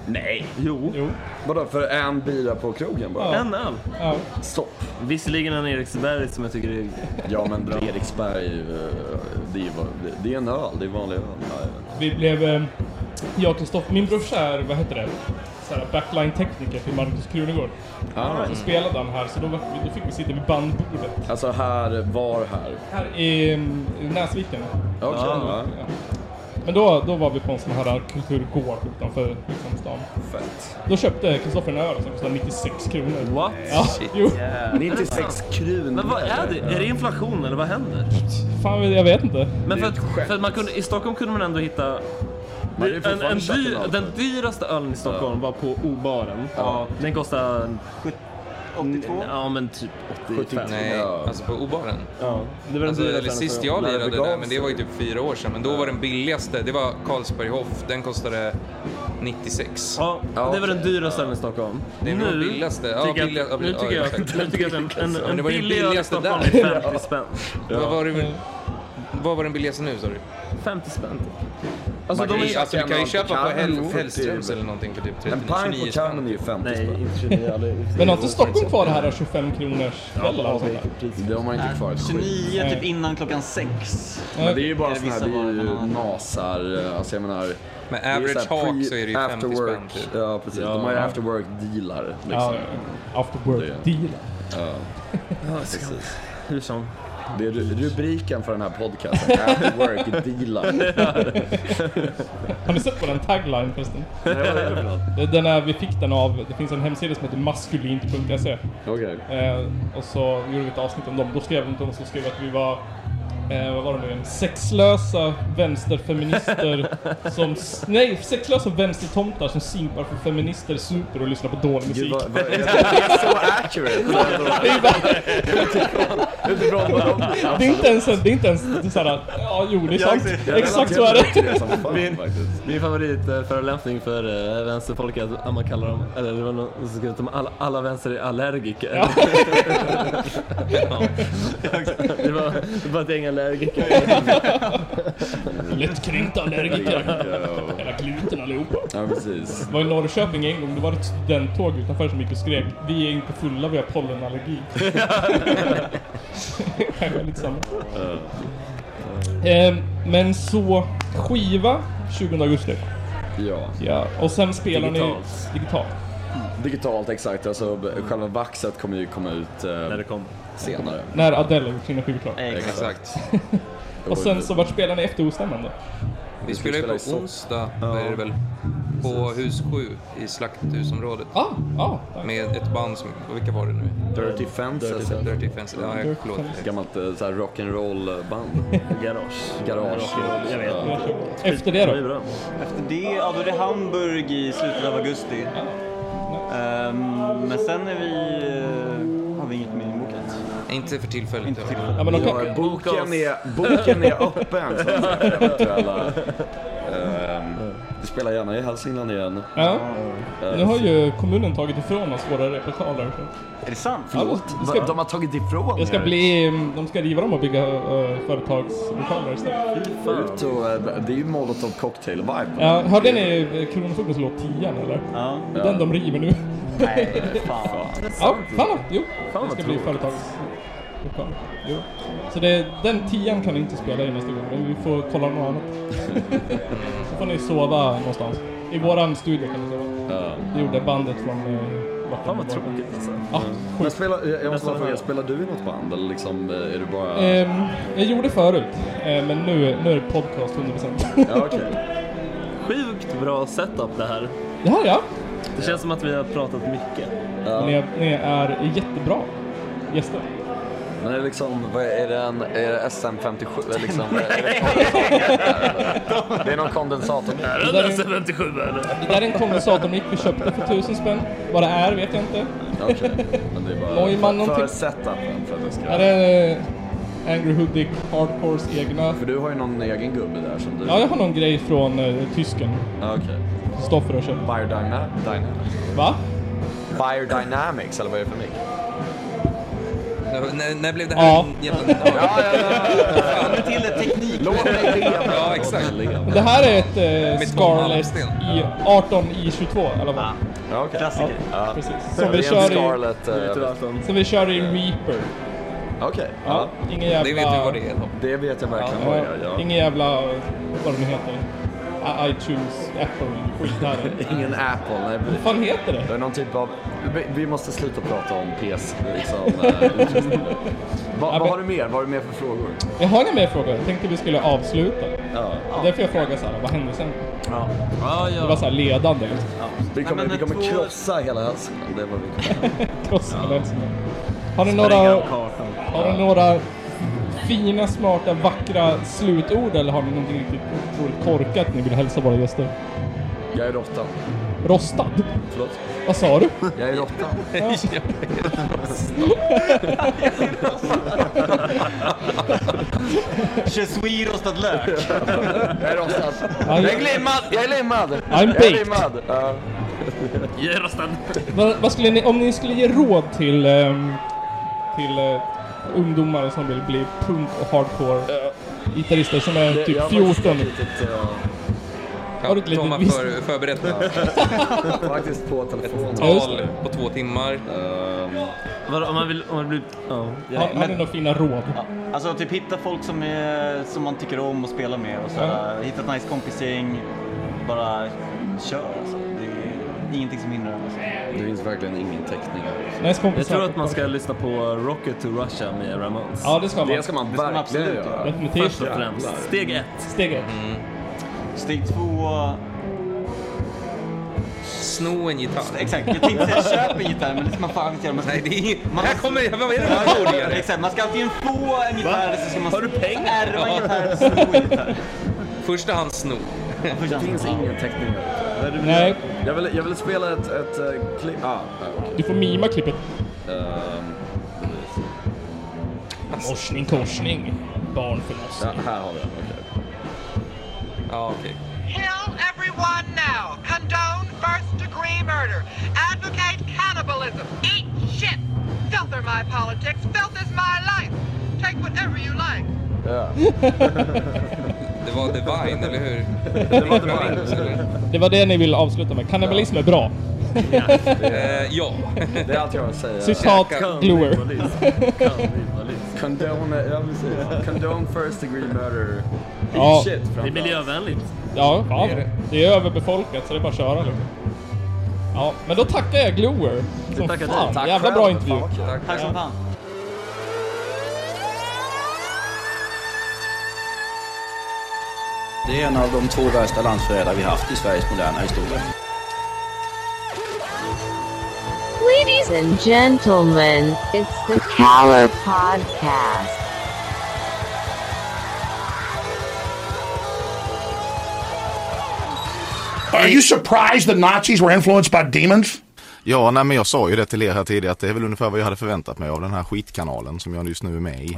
Speaker 5: Nej.
Speaker 7: Jo.
Speaker 3: jo.
Speaker 5: Vadå, för en bira på krogen bara?
Speaker 3: Ja.
Speaker 7: En öl.
Speaker 3: Ja.
Speaker 5: Stopp.
Speaker 7: Visserligen en Eriksberg som jag tycker är...
Speaker 5: Ja men Eriksberg, eh, det är, ju vad- det- det är en öl, det är vanlig öl. Ja, jag vet inte.
Speaker 3: Vi blev... eh, Jag och Kristoffer, min brorsa är, vad heter det? Så här, backline-tekniker till Markus Krunegård.
Speaker 5: Ah,
Speaker 3: Så spelade han här, så då, var, då fick vi sitta vid bandbordet.
Speaker 5: alltså här, var här.
Speaker 3: Här i, mm, i Näsviken.
Speaker 5: Okej.
Speaker 4: Ah.
Speaker 5: ja.
Speaker 3: Ja. Men då, då var vi på en sån här kulturgård utanför liksom, stan.
Speaker 5: Fett.
Speaker 3: Då köpte Kristoffer en öl som kostade 96 kronor.
Speaker 7: What?
Speaker 3: Ja, jo.
Speaker 5: 96 kronor.
Speaker 7: Men vad är det? Är det inflation eller vad händer?
Speaker 3: Fan, jag vet inte.
Speaker 7: Men för att, för att man kunde, i Stockholm kunde man ändå hitta
Speaker 5: Man hade ju
Speaker 7: en,
Speaker 5: fortfarande
Speaker 7: en
Speaker 5: köpt
Speaker 7: dyr,
Speaker 5: öl
Speaker 7: den
Speaker 5: för-
Speaker 7: dyraste ölen i Stockholm var på Obaren.
Speaker 5: Ja.
Speaker 7: Den kostade
Speaker 6: 82?
Speaker 7: ja men typ 85.
Speaker 4: Nej,
Speaker 5: Ja.
Speaker 4: alltså på Obaren.
Speaker 7: Ja. Det var den
Speaker 4: Alltså,
Speaker 7: dyraste
Speaker 4: eller
Speaker 7: ölen
Speaker 4: sist
Speaker 7: som-
Speaker 4: jag
Speaker 5: när det
Speaker 4: lirade
Speaker 5: begav
Speaker 4: där, men det var ju typ fyra år sedan. Men då var den billigaste, det var Carlsberg Hoff. Den kostade 96.
Speaker 7: Ja,
Speaker 5: Ja,
Speaker 7: det var den
Speaker 5: okej.
Speaker 7: dyraste ölen i Stockholm.
Speaker 4: Det är väl den billigaste. Ja,
Speaker 7: tycker jag,
Speaker 4: billiga- ja,
Speaker 7: nu
Speaker 4: ja,
Speaker 7: tycker jag,
Speaker 4: exakt.
Speaker 7: nu tycker jag att en, en,
Speaker 4: Men det
Speaker 7: en
Speaker 4: var ju den
Speaker 7: billig öl i
Speaker 4: billigaste
Speaker 7: Stockholm
Speaker 4: där.
Speaker 7: är 50 spänn.
Speaker 4: Vad, var det, vad var den billigaste nu sa du?
Speaker 7: 50 spänn typ. Alltså
Speaker 5: Man
Speaker 7: de
Speaker 5: kan
Speaker 7: är...
Speaker 5: ju-
Speaker 4: Alltså du kan ju köpa på
Speaker 5: Canon
Speaker 4: Hell-
Speaker 5: för
Speaker 4: Hellströms
Speaker 5: 40.
Speaker 4: eller någonting för typ
Speaker 5: En
Speaker 4: 39
Speaker 5: pint på
Speaker 4: 29
Speaker 5: Canon är
Speaker 4: spänn.
Speaker 5: ju 50
Speaker 7: Nej,
Speaker 5: spänn.
Speaker 7: inte 29 aldrig.
Speaker 3: Men har inte Stockholm kvar det här 25 kronors kvällar och sånt där?
Speaker 5: Det har man inte kvar ett skit.
Speaker 6: 29 typ innan klockan sex.
Speaker 5: Men det är ju bara
Speaker 6: Eller
Speaker 5: såna här,
Speaker 6: vissa
Speaker 5: det är
Speaker 6: varor
Speaker 5: ju
Speaker 6: man har.
Speaker 5: nasar, alltså jag menar.
Speaker 4: Med
Speaker 5: det är ju
Speaker 4: average
Speaker 5: så här
Speaker 4: hawk
Speaker 5: pre-
Speaker 4: så är det ju 50
Speaker 5: after
Speaker 4: spänn
Speaker 5: work.
Speaker 4: typ.
Speaker 5: Ja precis, de har ju after work dealar liksom.
Speaker 3: Ja, after
Speaker 5: Det-
Speaker 3: work-dealen.
Speaker 5: Precis.
Speaker 7: Hur som.
Speaker 5: Det är ru- rubriken för den här podcasten, after work dealar.
Speaker 3: Har ni sett på den tagline förresten? Det- Den är, vi fick den av, det finns en hemsida som heter maskulint.se
Speaker 5: Okej.
Speaker 3: eh, Och så gjorde vi ett avsnitt om dem, då skrev de att de som skrev att vi var eh, vad var det nu igen? Sexlösa vänsterfeminister som... s- Nej, sexlösa vänstertomtar som simpar för feminister, super och lyssnar på dålig musik.
Speaker 5: Gud, vad, vad, jag, det är så accurate!
Speaker 3: Det är bara-
Speaker 5: Utifrån vad de
Speaker 3: Det är inte ens, det är inte ens såhär, ja jo det är sant.
Speaker 7: ser-
Speaker 5: Jag
Speaker 3: Exakt så är det.
Speaker 5: relaterar till som fan faktiskt.
Speaker 7: Min favoritförolämpning för eh, vänsterfolk är att man kallar dem, eller det var någon som skrev att de alla, alla vänster är allergiker. det, var, det var ett gäng allergiker.
Speaker 3: Lättkränkta allergiker. Hela gluten allihopa.
Speaker 5: Ja, precis.
Speaker 3: Det var i Norrköping en gång, det var ett studenttåg utanför som gick och skrek Vi är inte fulla, vi har pollenallergi. Kanske lite samma. Ehm, Men så, skiva 20 augusti.
Speaker 5: Ja.
Speaker 3: Ja, och sen spelar
Speaker 6: Digitalt.
Speaker 3: ni digitalt.
Speaker 5: Digitalt, exakt. Alltså, b- själva vaxet kommer ju komma ut eh, senare.
Speaker 3: När Adele har gjort sina skivor klart.
Speaker 6: Eh,
Speaker 4: Exakt.
Speaker 3: Och sen så, vart spelar ni efter ostämman då?
Speaker 4: Vi spelar ju på onsdag, är det väl, på hus 7 i Slakthusområdet.
Speaker 3: Ah, ah, tack.
Speaker 4: Med ett band som, vilka var det nu?
Speaker 5: Dirty Fences.
Speaker 4: Dirty Fences. Ja, jag- förlåt.
Speaker 5: Gammalt eh, så här rock'n'roll eh, band. Garage. Garage. Jag vet.
Speaker 3: Efter det då?
Speaker 6: Efter det, ja då är det Hamburg i slutet av augusti. Ehm, men sen är vi, eh, har vi inget mer inbokat.
Speaker 4: Inte för tillfället.
Speaker 6: Inte
Speaker 4: ja.
Speaker 6: till
Speaker 3: Ja, men de kan,
Speaker 5: Ja, boken, är, boken är öppen. så att säga, Eventuella. Ehm, Vi spelar gärna i Hälsingland igen.
Speaker 3: ja. Nu har ju kommunen tagit ifrån oss våra replikaler.
Speaker 6: Är det sant?
Speaker 3: Ja, det ska-
Speaker 5: De har tagit ifrån
Speaker 3: Det ska
Speaker 5: er.
Speaker 3: bli, de ska riva dem och bygga eh, företagslokaler istället.
Speaker 5: Ut och, eh, det är ju molotov cocktail vibe.
Speaker 3: Ja, hörde ni Kronofogdens låt 10 eller?
Speaker 6: Ja.
Speaker 3: Den de river nu.
Speaker 6: Nej, fan.
Speaker 3: Ja, fan vad, jo. det ska bli företagslokaler. Jo. Så det, den 10 kan vi inte spela i nästa gång, men vi får kolla något annat. Så får ni sova någonstans. I våran studio kan ni sova.
Speaker 5: Ja.
Speaker 3: Det gjorde bandet från... Uh, fan vad tråkigt alltså.
Speaker 5: Men spela, jag jag måste bara fråga, spelar du i något band eller liksom, eh, är du bara...
Speaker 3: Ehm, jag gjorde förut, eh, men nu, nu är det podcast 100%.
Speaker 5: Ja, okej.
Speaker 7: Sjukt bra setup det här.
Speaker 3: Det här ja,
Speaker 7: Det känns som att vi har pratat mycket.
Speaker 5: Ja.
Speaker 3: ni, ni är jättebra gäster.
Speaker 5: Men är det liksom, vad är- är det en, är det SM57 eller liksom? vad är det kondensator? Det är någon kondensator.
Speaker 3: Det där, är en, det där är en kondensatormick vi köpte för tusen spänn. Vad det är vet jag inte.
Speaker 5: Okej, men det är bara
Speaker 3: Neumann
Speaker 5: för, för
Speaker 3: någonting.
Speaker 5: setupen för att det ska...
Speaker 3: Är det eh, Angry Hoodic Hardcores egna?
Speaker 5: För du har ju någon egen gubbe där som du...
Speaker 3: Ja, jag har någon grej från eh, tysken.
Speaker 5: Ja, Okej.
Speaker 3: Kristoffer har köpt.
Speaker 5: Biodynamics.
Speaker 3: Va?
Speaker 5: Biodynamics eller vad är det för mick?
Speaker 4: När, när blev det här
Speaker 3: Ja.
Speaker 4: en jävla... Ja,
Speaker 5: Låt mig leva!
Speaker 4: ja, exakt.
Speaker 3: Det här är ett eh,
Speaker 4: Tom
Speaker 3: Scarlett
Speaker 4: Malmsten.
Speaker 3: i 18 i 22 eller vad?
Speaker 5: Ja, okej.
Speaker 6: Klassiker.
Speaker 5: Ja.
Speaker 3: Precis.
Speaker 5: Det
Speaker 3: Som vi
Speaker 5: är en
Speaker 3: kör i,
Speaker 5: Scarlett... eh,
Speaker 3: som vi kör i Reaper.
Speaker 5: Okej.
Speaker 3: Ja,
Speaker 5: Ja.
Speaker 3: ingen jävla...
Speaker 4: Det vet du vad det är.
Speaker 5: Det vet jag verkligen vad jag
Speaker 3: Ja,
Speaker 5: gör.
Speaker 3: ingen jävla... Vad det nu heter. I- iTunes, Apple, skit här.
Speaker 5: Ingen Apple, nej. precis.
Speaker 3: Vad fan heter det?
Speaker 5: Det är någon typ av... vi- Vi måste sluta prata om PS, liksom. eh, utrustning. Vad vad har du mer? Vad har du mer för frågor?
Speaker 3: Jag har inga mer frågor. Jag tänkte vi skulle avsluta.
Speaker 5: Ja.
Speaker 3: Därför jag frågar så här, vad hände sen?
Speaker 6: Ja,
Speaker 3: Det var så här ledande. liksom.
Speaker 5: Vi kommer,
Speaker 6: Nej, men
Speaker 5: vi kommer
Speaker 6: två-
Speaker 5: krossa hela Hälsingland, det är vad vi kommer göra.
Speaker 3: Kross eller något sånt där. liksom. Har ni några, har ni några fina, smarta, vackra slutord eller har ni någonting riktigt otroligt korkat ni vill hälsa våra gäster?
Speaker 5: Jag är råttan.
Speaker 3: Rostad?
Speaker 5: Förlåt?
Speaker 3: Vad sa du?
Speaker 5: Jag är råttan.
Speaker 6: Je suis rostad lök.
Speaker 5: Jag är rostad.
Speaker 3: Ja,
Speaker 5: Jag är
Speaker 3: jag,
Speaker 5: glimmad! Jag är limmad!
Speaker 3: I'm
Speaker 5: Jag är
Speaker 3: baked.
Speaker 5: limmad! Ja.
Speaker 3: vad, vad skulle ni, om ni skulle ge råd till, ehm, till eh, ungdomar som vill bli punk och hardcore eh, gitarrister som är
Speaker 5: Det-
Speaker 3: typ
Speaker 5: jag har faktiskt
Speaker 3: 14?
Speaker 5: ett litet, eh,
Speaker 3: Har du ett litet
Speaker 4: Tom har
Speaker 3: visst-
Speaker 4: för, förberett
Speaker 5: Faktiskt på telefonen.
Speaker 4: tal på två timmar.
Speaker 5: Ehm,
Speaker 7: Vadå, om man vill, om man blir... Ja.
Speaker 3: Har, har ni några fina råd?
Speaker 6: Ja, Alltså typ hitta folk som, är, som man tycker om och spela med och så.
Speaker 3: Ja.
Speaker 6: Hitta ett nice kompisgäng. Bara kör alltså. Det är ingenting som hindrar en. Alltså.
Speaker 5: Det finns verkligen ingen täckning här.
Speaker 3: Nice kompisar.
Speaker 7: Jag tror att man ska lyssna på Rocket to Russia med Ramones.
Speaker 3: Ja, det ska man.
Speaker 5: Det ska man
Speaker 6: man
Speaker 5: verkligen
Speaker 6: absolut
Speaker 5: göra.
Speaker 3: Definitivt.
Speaker 7: Först och främst. Steg
Speaker 5: Mm.
Speaker 7: ett.
Speaker 3: Steg ett.
Speaker 6: Steg två.
Speaker 4: sno en gitarr.
Speaker 6: Exakt, jag tänkte säga köp en gitarr men det ska man fan inte göra. Man ska,
Speaker 4: Nej, det är
Speaker 6: Man-
Speaker 4: Här kommer... Vad är det för borgare?
Speaker 6: exakt, man ska antingen få en gitarr så ska man
Speaker 7: Har du pengar?
Speaker 6: ärva en gitarr eller sno en gitarr.
Speaker 4: Första hand sno.
Speaker 5: Det finns ingen täckning där.
Speaker 3: Nej,
Speaker 5: Jag vill, jag vill spela ett, ett eh, klipp. Ah, där, okej.
Speaker 3: du får mima klippet.
Speaker 5: Ehm,
Speaker 3: Morsning, korsning. Barnförlossning.
Speaker 5: ja, här har vi den, okej.
Speaker 4: Ja, okej.
Speaker 9: Kill everyone now. Condone first degree murder. Advocate cannibalism. Eat shit. Filth are my politics. Filth is my life. Take whatever you like.
Speaker 4: Det var Divine, eller hur?
Speaker 5: Det var Divine.
Speaker 4: eller?
Speaker 3: Det var det ni ville avsluta med. Kannibalism är bra.
Speaker 4: Eh, ja.
Speaker 5: Det är allt jag har att säga.
Speaker 3: Citat
Speaker 4: Käka.
Speaker 3: Gluer.
Speaker 5: Condone, ja, precis. Condone first degree murder.
Speaker 3: Ja.
Speaker 5: Shit,
Speaker 7: Det är
Speaker 5: framförallt.
Speaker 7: miljövänligt.
Speaker 3: Ja, fan.
Speaker 4: Det är det.
Speaker 3: Det är överbefolkat så det är bara att köra liksom. Ja, men då tackar jag Gluer. Som
Speaker 5: Tackar dig.
Speaker 3: fan.
Speaker 5: Tack
Speaker 3: Jävla
Speaker 5: själv.
Speaker 3: bra intervju.
Speaker 5: Fan, vad kul.
Speaker 4: Tack.
Speaker 6: Tack som fan.
Speaker 1: Det är en av de två värsta landsförrädare vi haft i Sveriges moderna historia.
Speaker 2: Ladies and gentlemen, it's the Caller Podcast.
Speaker 10: Are you surprised the Nazis were influenced by demons?
Speaker 11: Ja, nej, men jag sa ju det till er här tidigare att det är väl ungefär vad jag hade förväntat mig av den här skitkanalen som jag just nu är med i.